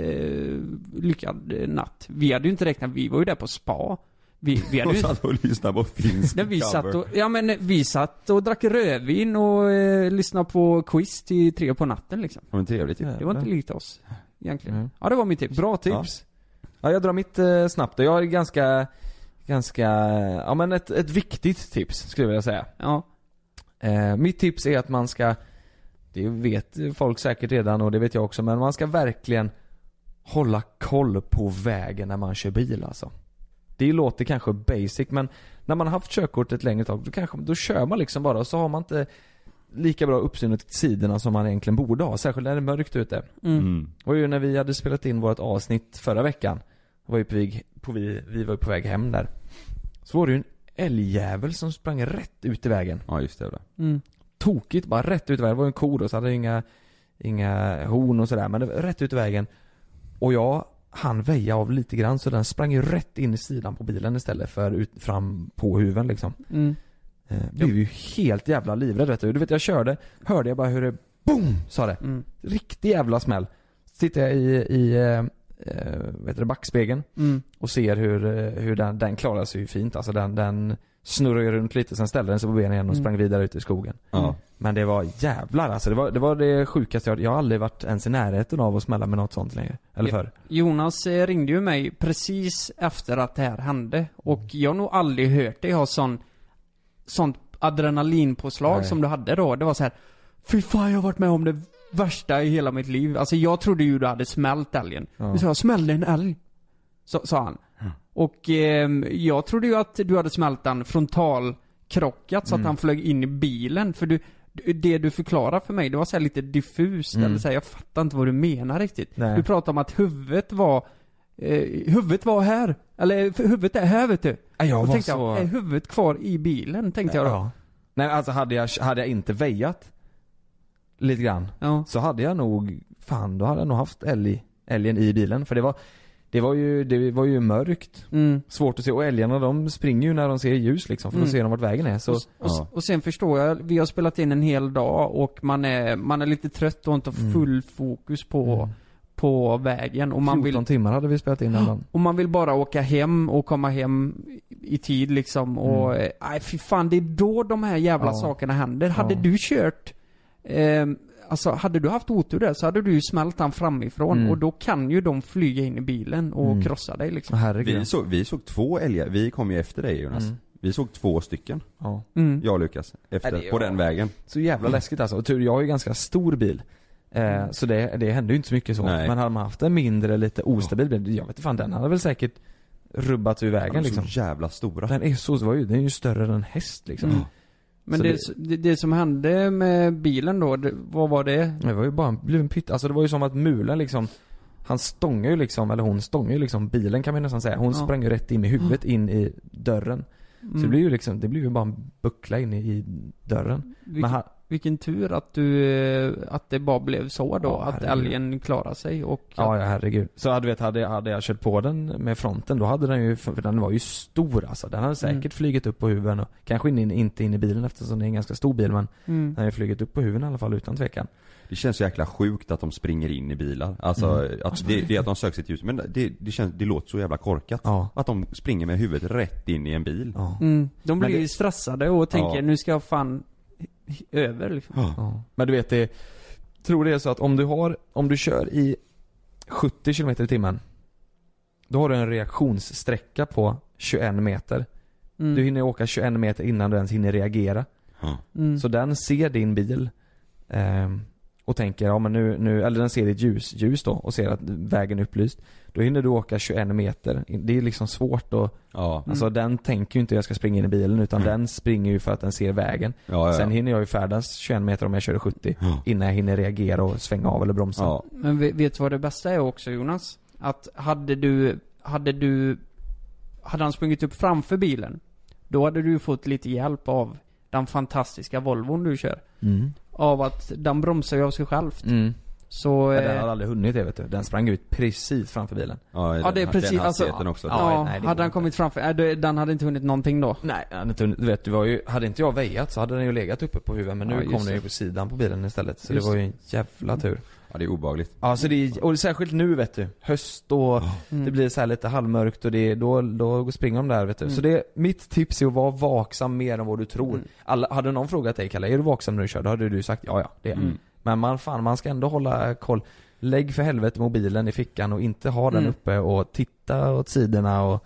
lyckad eh, natt. Vi hade ju inte räknat, vi var ju där på spa. Vi, vi hade
Och
ju
satt och lyssnade <laughs> på finsk
när vi
cover.
satt och, ja men vi satt och drack rödvin och eh, lyssnade på quiz till tre på natten liksom.
Ja, men trevligt ju.
Det var inte likt oss, egentligen.
Mm.
Ja det var mitt tips.
Bra tips. Ja. jag drar mitt eh, snabbt då. Jag har ganska, ganska, ja men ett, ett viktigt tips skulle jag vilja säga.
Ja.
Eh, mitt tips är att man ska, det vet folk säkert redan och det vet jag också, men man ska verkligen hålla koll på vägen när man kör bil alltså. Det låter kanske basic men när man har haft körkort ett längre tag då kanske, då kör man liksom bara och så har man inte lika bra uppsyn åt sidorna som man egentligen borde ha, särskilt när det är mörkt ute.
Mm.
Det var ju när vi hade spelat in vårt avsnitt förra veckan. Var ju på väg, på vi, vi var ju på väg hem där. Så var det ju en älgjävel som sprang rätt ut i vägen.
Ja, just det. Bra.
Mm.
Tokigt, bara rätt ut i vägen. Det var ju en ko då, så hade inga, inga horn och sådär. Men det var rätt ut i vägen. Och jag han väja av lite grann så den sprang ju rätt in i sidan på bilen istället för ut, fram på huven liksom.
Mm.
Eh, blev ju helt jävla livrädd vet du. Du vet jag körde, hörde jag bara hur det BOOM! sa det.
Mm.
Riktig jävla smäll. Sitter jag i, i eh, eh, vad heter det, backspegeln
Mm.
och ser hur, eh, hur den, den klarar sig ju fint. Alltså den, den snurrar ju runt lite, sen ställde den sig på benen igen och
Mm.
sprang vidare ut i skogen.
Ja.
Men det var jävlar alltså. Det var det, var det sjukaste jag Jag har aldrig varit ens i närheten av att smälla med något sånt längre. Eller
Ja.
förr.
Jonas eh, ringde ju mig precis efter att det här hände och jag har nog aldrig hört dig ha sån, sånt adrenalinpåslag
Nej.
som du hade då. Det var så här. Fy fan jag har varit med om det värsta i hela mitt liv. Alltså jag trodde ju du hade smält älgen.
Ja.
Du sa jag smällde en älg. Så, sa han. Och ehm, jag trodde ju att du hade smält den frontalkrockat
Mm.
så att han flög in i bilen. För du, det du förklarade för mig, det var så här lite diffust. Eller så här, jag fattar inte vad du menar riktigt.
Mm. Nej.
Du pratade om att huvudet var eh, Huvudet var här. Eller för huvudet är här vet du.
Ja, jag
Och
var
tänkte
så-
jag, "Eh, är huvudet kvar i bilen? Tänkte jag då.
Ja. Nej alltså hade jag, hade jag inte väjat lite grann
Ja.
så hade jag nog, fan då hade jag nog haft älg, älgen i bilen. För det var, det var ju, det var ju mörkt.
Mm.
Svårt att se och älgarna de springer ju när de ser ljus liksom för då
Mm.
ser de vart vägen är. Så,
Och, och,
Ja.
och sen förstår jag, vi har spelat in en hel dag och man är, man är lite trött och inte
Mm.
har full fokus på, på vägen och
14
man vill,
timmar hade vi spelat in innan.
och man vill bara åka hem och komma hem i tid liksom och, eh, nej fy fan det är då de här jävla
Mm. Ja.
sakerna händer. Hade
Ja.
du kört, eh, alltså hade du haft otur där så hade du ju smält han framifrån
Mm.
och då kan ju de flyga in i bilen och krossa dig liksom.
Herregud.
Vi, såg, vi såg två älgar, vi kom ju efter dig Jonas. Vi såg två stycken,
Ja.
Mm.
jag och Lukas, efter,
Ja, det är-
på den vägen.
Så jävla läskigt alltså. Och tur, jag har ju ganska stor bil. Eh,
Mm.
så det, det hände ju inte så mycket så.
Nej.
Men hade man haft en mindre, lite ostabil bil, jag vet inte fan den hade väl säkert rubbat ur
De är
vägen liksom.
så jävla stora.
Den är så, det var ju, den är ju större än en häst liksom.
Mm. Men
Så
det,
det-
det, det som hände med bilen då, det, vad var det?
Det var ju bara en, blev en pytt, alltså det var ju som att mulen liksom Han stångar ju liksom, eller hon stångar ju liksom bilen kan man ju nästan säga. Hon
Ja. Mm.
sprang ju rätt in i huvudet in i dörren. Så det blev ju liksom, det blev ju bara en buckla in i, i dörren.
Vilken,
Men han,
vilken tur att du, eh, att det bara blev så då,
Ja,
att
herregud.
älgen klarade sig och
ja, ja herregud. Så hade, vet, hade, jag- hade jag kört på den med fronten då hade den ju, för den var ju stor alltså. Den hade säkert
Mm.
flugit upp på huven och kanske in, inte in i bilen eftersom det är en ganska stor bil men
Mm.
den hade ju flugit upp på huven i alla fall utan tvekan.
Det känns så jäkla sjukt att de springer in i bilar. Alltså,
Mm.
att det, det är att de söker sitt ljus. Men det, det, känns, det låter så jävla korkat.
Ja.
Att de springer med huvudet rätt in i en bil.
Ja.
Mm. De blir
det-
ju stressade och tänker
Ja.
nu ska jag fan h- över liksom.
Ja. Men du vet det, tror det är så att om du har, om du kör i 70 km i timmen. Då har du en reaktionssträcka på 21 meter.
Mm.
Du hinner åka 21 meter innan du ens hinner reagera.
Mm.
Så den ser din bil ehm, och tänker, ja men nu, nu, eller den ser ditt ljus, ljus då och ser att vägen är upplyst. Då hinner du åka 21 meter. Det är liksom svårt att,
Ja.
Mm.
alltså den tänker ju inte jag ska springa in i bilen utan den springer ju för att den ser vägen.
Ja, ja, ja.
Sen hinner jag ju färdas 21 meter om jag kör i 70
Ja.
innan jag hinner reagera och svänga av eller bromsa.
Ja.
Men ve- vet du vad det bästa är också Jonas? Att hade du, hade du, hade han sprungit upp framför bilen, då hade du fått lite hjälp av den fantastiska Volvon du kör.
Mm.
Av att den bromsar ju av sig själv.
Mm.
Så...
Ja,
eh,
den hade aldrig hunnit det vet du. Den sprang ut precis framför bilen.
Ja,
Ja, det är
den,
precis-
den
alltså-
hastigheten också.
Ja,
nej, det går
hade han
inte.
kommit framför, nej, då- den hade inte hunnit någonting då.
Nej, jag hade inte hunnit- du vet, det var ju, hade inte jag väjat så hade den ju legat uppe på huvudet men nu
Ja, just
kom den
det.
ju på sidan på bilen istället. Så
Just
det var ju en jävla tur.
Ja, det är obehagligt.
Ja, så det är, och särskilt nu vet du. Höst och
Mm.
det blir så här lite halvmörkt och det, är- då, då springer de där vet du.
Mm.
Så det, mitt tips är att vara vaksam mer än vad du tror. Alla, hade någon frågat dig Kalle, är du vaksam när du kör? Då hade du sagt ja, ja det är
Mm.
jag." Men man, fan, man ska ändå hålla koll. Lägg för helvete mobilen i fickan och inte ha den
Mm.
uppe och titta åt sidorna och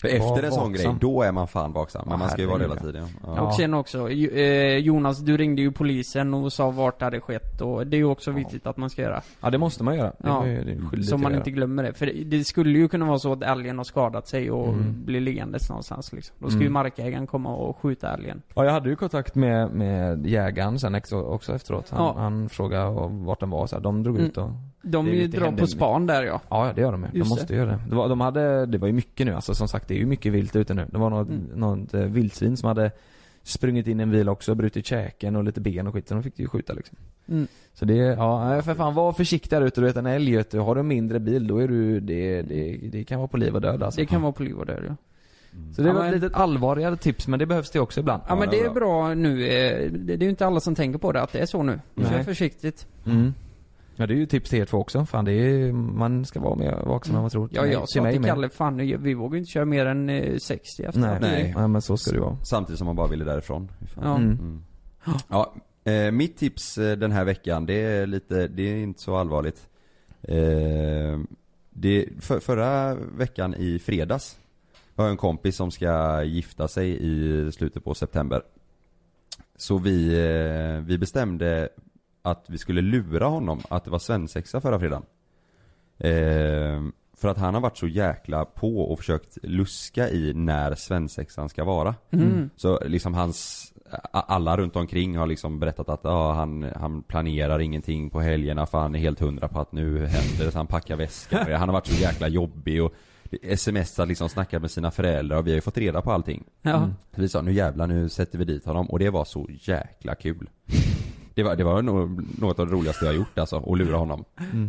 För efter
Var
en sån grej,
vaksam.
då är man fan vaksam. Men
Ja,
man ska ju vara det hela
herregud.
tiden. Ja.
Ja.
Och sen också, ju- eh, Jonas du ringde ju polisen och sa vart det hade skett och det är ju också viktigt att man ska göra.
Ja det måste man göra. Det
Ja.
är ju- det är skyldigt
Så
att
man
göra.
inte glömmer det. För det, det skulle ju kunna vara så att älgen har skadat sig och
Mm.
blir liggandes någonstans liksom. Då ska
Mm.
ju markägaren komma och skjuta älgen.
Ja jag hade ju kontakt med, med jägaren sen ex- också efteråt. Han,
Ja. Mm.
han frågade och vart den var så här. de drog ut och
De
Det är
ju
lite Alltså.
drar på
händel-
span där ja.
Ja ja, det gör de ju. De
Just
måste göra det. det var, de hade, det var ju mycket nu alltså som sagt det är ju mycket vilt ute nu. Det var något,
Mm.
något eh, vildsvin som hade sprungit in i en bil också, brutit käken och lite ben och skit. Så de fick ju skjuta liksom.
Mm.
Så det, ja nej, för fan var försiktig där ute. Du vet en älg vet du, har du en mindre bil då är du, det, det, det kan vara på liv och död alltså.
Det kan vara på liv och död ja.
Så det
Ja,
var
men-
ett litet allvarligare tips men det behövs det också ibland.
Ja men det är bra nu, eh, det det är ju inte alla som tänker på det att det är så nu.
Nej.
Kör försiktigt.
Mm. Ja det är ju tips till er två också. Fan det är, man ska vara mer vaksam än man tror.
Mm. Ja
Till
jag sa
mig
till
med.
Kalle, fan nu, vi vågar ju inte köra mer än eh, 60 efter
Nej.
det.
Nej.
Nej.
men så ska det ju vara.
Samtidigt som man bara ville därifrån. Fy fan.
Ja.
Mm.
Mm. Ja, eh, mitt tips eh, den här veckan, det är lite, det är inte så allvarligt. Eh, det, för, förra veckan i fredags har jag en kompis som ska gifta sig i slutet på september. Så vi, eh, vi bestämde att vi skulle lura honom att det var svensexa förra fredagen. Eh, för att han har varit så jäkla på och försökt luska i när svensexan ska vara.
Mm.
Så liksom hans, a- alla runt omkring har liksom berättat att ja, han, han planerar ingenting på helgerna för han är helt hundra på att nu händer det. Så han packar väskan och det. Han har varit så jäkla jobbig och smsar liksom, snackar med sina föräldrar och vi har ju fått reda på allting.
Ja.
Så vi sa nu jävlar nu sätter vi dit honom och det var så jäkla kul. Det var, det var nog något av det roligaste jag har gjort alltså, att lura honom.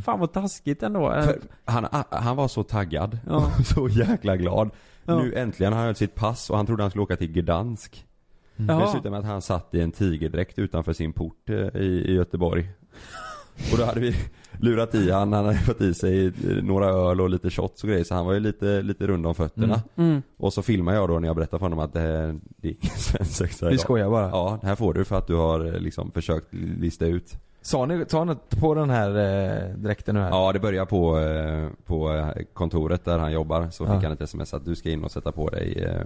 Fan vad taskigt ändå.
Mm.
Eh,
För Mm. han, han var så taggad
Ja.
och <laughs> så jäkla glad.
Ja.
Nu äntligen har han höll sitt pass och han trodde han skulle åka till Gdansk.
jaha.
Det slutade med att han satt i en tigerdräkt utanför sin port eh, i, i Göteborg. Och då hade vi lurat i han, han hade fått i sig eh, några öl och lite shots och grejer så han var ju lite, lite rund om fötterna.
Mm.
Och så filmar jag då när jag berättar för honom att det, här- det är ingen svensexa
Vi
idag.
skojar bara.
Ja, det här får du för att du har eh, liksom försökt lista ut.
Sa ni, sa ni på den här eh, dräkten nu här?
Ja, det börjar på, eh, på eh, kontoret där han jobbar. Så fick
Ja.
han ett sms att du ska in och sätta på dig eh,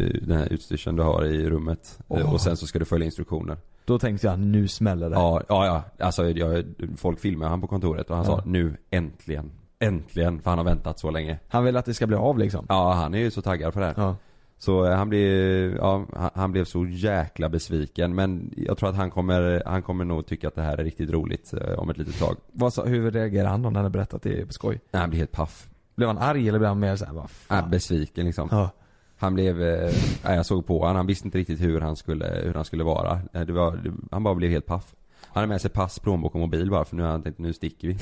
eh, den här utstyrseln du har i rummet. Eh,
Åh.
Och sen så ska du följa instruktioner.
Då tänkte jag nu smäller det.
Ja, ja, ja. Alltså, jag, folk filmar han på kontoret och han
Ja.
sa nu äntligen. Äntligen, för han har väntat så länge.
Han vill att det ska bli av liksom.
Ja, han är ju så taggad för det här.
Ja.
Så eh, han blev, ja, han- han blev så jäkla besviken. Men jag tror att han kommer, han kommer nog tycka att det här är riktigt roligt eh, om ett litet tag.
Vad sa, hur reagerade han om han hade berättat det på skoj?
Nej, Han blir helt paff.
Blev han arg eller blev han mer såhär, vad
Ja.
fan?
Besviken liksom.
Ja.
Han blev, eh, nej, jag såg på han, han visste inte riktigt hur han skulle, hur han skulle vara. Eh, Det var, det, han bara blev helt paff. Han hade med sig pass, plånbok och mobil bara för nu har han tänkt, nu sticker <laughs> vi.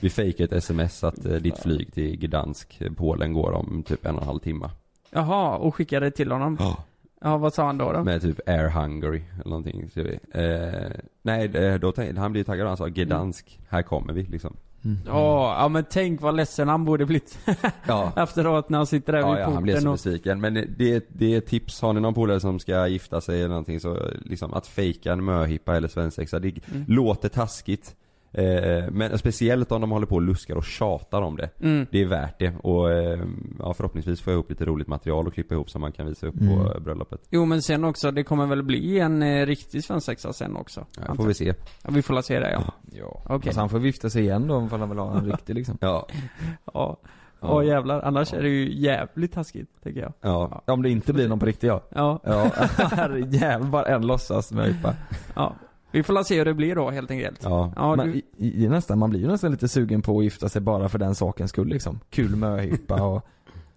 Vi fejkar ett sms att eh, ditt flyg till Gdansk, eh, Polen går om typ en och en halv timme.
Jaha, och skickade det till honom.
Ja.
Ja, vad sa han då? då?
Med typ Air Hungary eller någonting. Så vi. Eh, nej, eh, då tänkte, han blev ju taggad och han sa Gdansk, här kommer vi liksom.
Ja, ja men tänk vad ledsen han borde blivit <laughs>
Ja.
efteråt när han sitter där
Ja,
vid
ja, han blev
porten
så
och...
besviken. Men det, det är ett tips. Har ni någon polare som ska
Mm.
gifta sig eller någonting så liksom att fejka en möhippa eller svensexa. Det låter taskigt. Eh, men speciellt om de håller på och luskar och tjatar om det.
Mm.
Det är värt det och eh, ja, förhoppningsvis får jag ihop lite roligt material att klippa ihop som man kan visa upp på eh, bröllopet.
Jo men sen också, det kommer väl bli en eh, riktig svensexa sen också?
Ja, det
antar
får
jag.
vi se.
Ja, vi får la se det ja.
Ja.
Okej.
Fast han får vifta sig igen då om han vill ha en riktig liksom.
Ja,
Ja. Åh jävlar, annars är det ju jävligt taskigt, tycker jag.
ja.
Om det inte blir någon på riktigt ja.
Ja,
Ja, herrejävlar bara en låtsas med IPA.
<laughs> ja. Vi får la se hur det blir då helt enkelt.
ja.
Ja,
man,
du,
i, i, i nästan, man blir ju nästan lite sugen på att gifta sig bara för den sakens skull liksom. Kul med möhippa och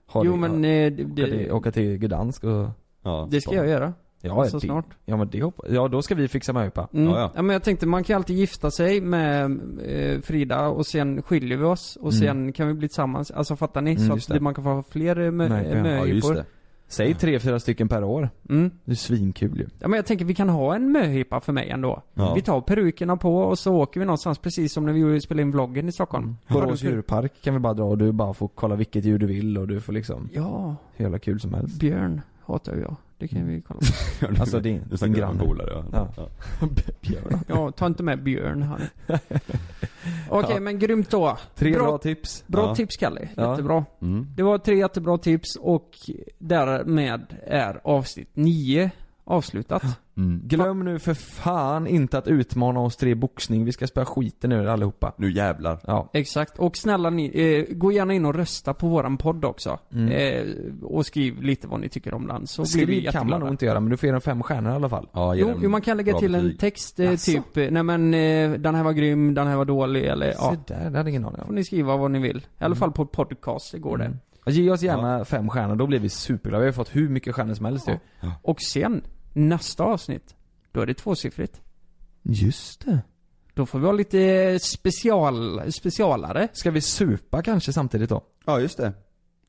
ha
jo
det,
men
ha,
eh,
åka, till,
det,
åka till Gdansk och
ja.
det ska jag göra.
Ja,
Så
det,
snart.
Ja men det hoppas, ja då ska vi fixa möhippa.
Mm.
Ja,
Ja,
ja.
ja. men jag tänkte, man kan ju alltid gifta sig med eh, Frida och sen skiljer vi oss och
Mm.
sen kan vi bli tillsammans. Alltså fattar ni?
Mm,
så
just
att
det.
man kan få ha fler eh, mö-
Verkligen.
eh,
Ja, just det.
möhippor.
Säg tre, fyra stycken per år.
Mm.
Det är svinkul ju.
Ja men jag tänker vi kan ha en möhippa för mig ändå.
Ja.
Vi tar perukerna på och så åker vi någonstans precis som när vi gjorde- spelade in vloggen i Stockholm.
Borås djurpark kan vi bara dra och du bara får kolla vilket djur du vill och du får liksom,
Ja,
hur jävla kul som helst.
björn hatar ju jag. Det kan vi kolla på.
Alltså
Mm.
din,
Du
din
snackar om en
granne.
polare ja.
Ja.
ja.
Ja, ta inte med björn här. Okej
Ja.
men grymt då.
Tre bra,
bra,
tips.
bra
Ja.
tips Kalle.
Ja.
Jättebra.
Mm.
Det var tre jättebra tips och därmed är avsnitt nio avslutat.
Glöm nu för fan inte att utmana oss tre i boxning. Vi ska spöa skiten ur allihopa.
Nu jävlar.
Ja.
Exakt. Och snälla ni, eh, gå gärna in och rösta på våran podd också.
Mm.
Eh, och skriv lite vad ni tycker om den så blir vi
Skriv kan
jätteglada.
man nog inte göra men du får ge den fem stjärnor i alla fall.
Ja, ge
Jo,
dem
jo, man kan lägga
bra
till en
betyg.
text eh,
Jaså?
typ, eh, nej men eh, den här var grym, den här var dålig eller ja.
Se där, det hade ingen aning
får
om.
ni skriva vad ni vill. I
Mm.
alla fall på podcast, det går det.
Ge oss gärna fem stjärnor, då blir vi superglada. Vi har ju fått hur mycket stjärnor som helst ju.
Och sen, nästa avsnitt, då är det tvåsiffrigt.
Just det.
Då får vi ha lite special, specialare.
Ska vi supa kanske samtidigt då?
Ja, just det.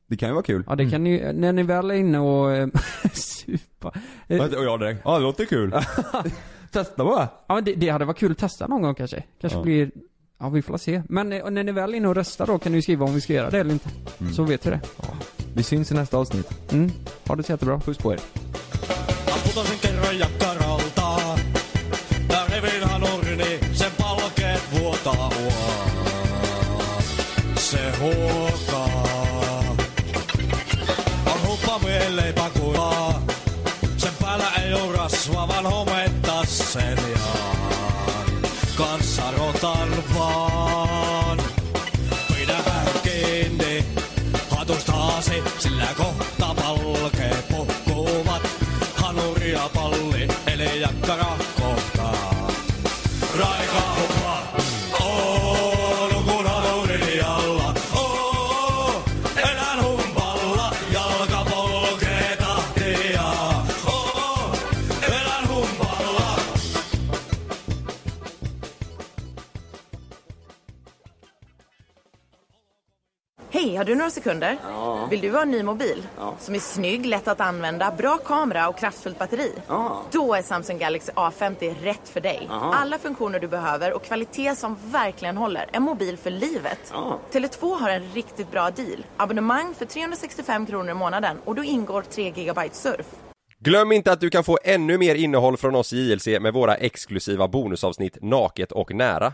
Det kan ju vara kul.
Ja det kan ni, när ni väl är inne och eh, <laughs> supa. Eh,
Och jag direkt, ja det låter <laughs> kul.
Testa bara!
Ja men det, det hade varit kul att testa någon gång kanske. Kanske
Ja.
blir, ja vi får se. Men eh, när ni väl är inne och röstar då kan ni ju skriva om vi ska göra det eller inte. Så vet vi det.
Vi syns i nästa avsnitt.
Mm. Ha det så jättebra.
Puss på er.
Mä putosin kerran jakkaralta. Tää revinhan urni, sen palkeet vuotaa uaa. Se huokaa. On huppa mielleipä kuivaa. Sen päällä ei oo rasvaa, vaan hometta seljaan. Kanssa rotan vaan. Pidä vähän kiinni hatustaasi, sillä kohta palkeet puhkuvat. Hanuri ja palli, eli jakkara kohtaa. Raikaa huppa, oo, nukun hanurin alla. Oo, elän humpalla, jalka polkee tahtia. Oo, elän humpalla.
Hej, har du några sekunder? Vill du ha en ny mobil? Som är snygg, lätt att använda, bra kamera och kraftfullt batteri? Då är Samsung Galaxy A50 rätt för dig. Alla funktioner du behöver och kvalitet som verkligen håller. En mobil för livet. Tele2 har en riktigt bra deal. Abonnemang för 365 kronor i månaden och då ingår 3 GB surf.
Glöm inte att du kan få ännu mer innehåll från oss i JLC med våra exklusiva bonusavsnitt Naket och nära.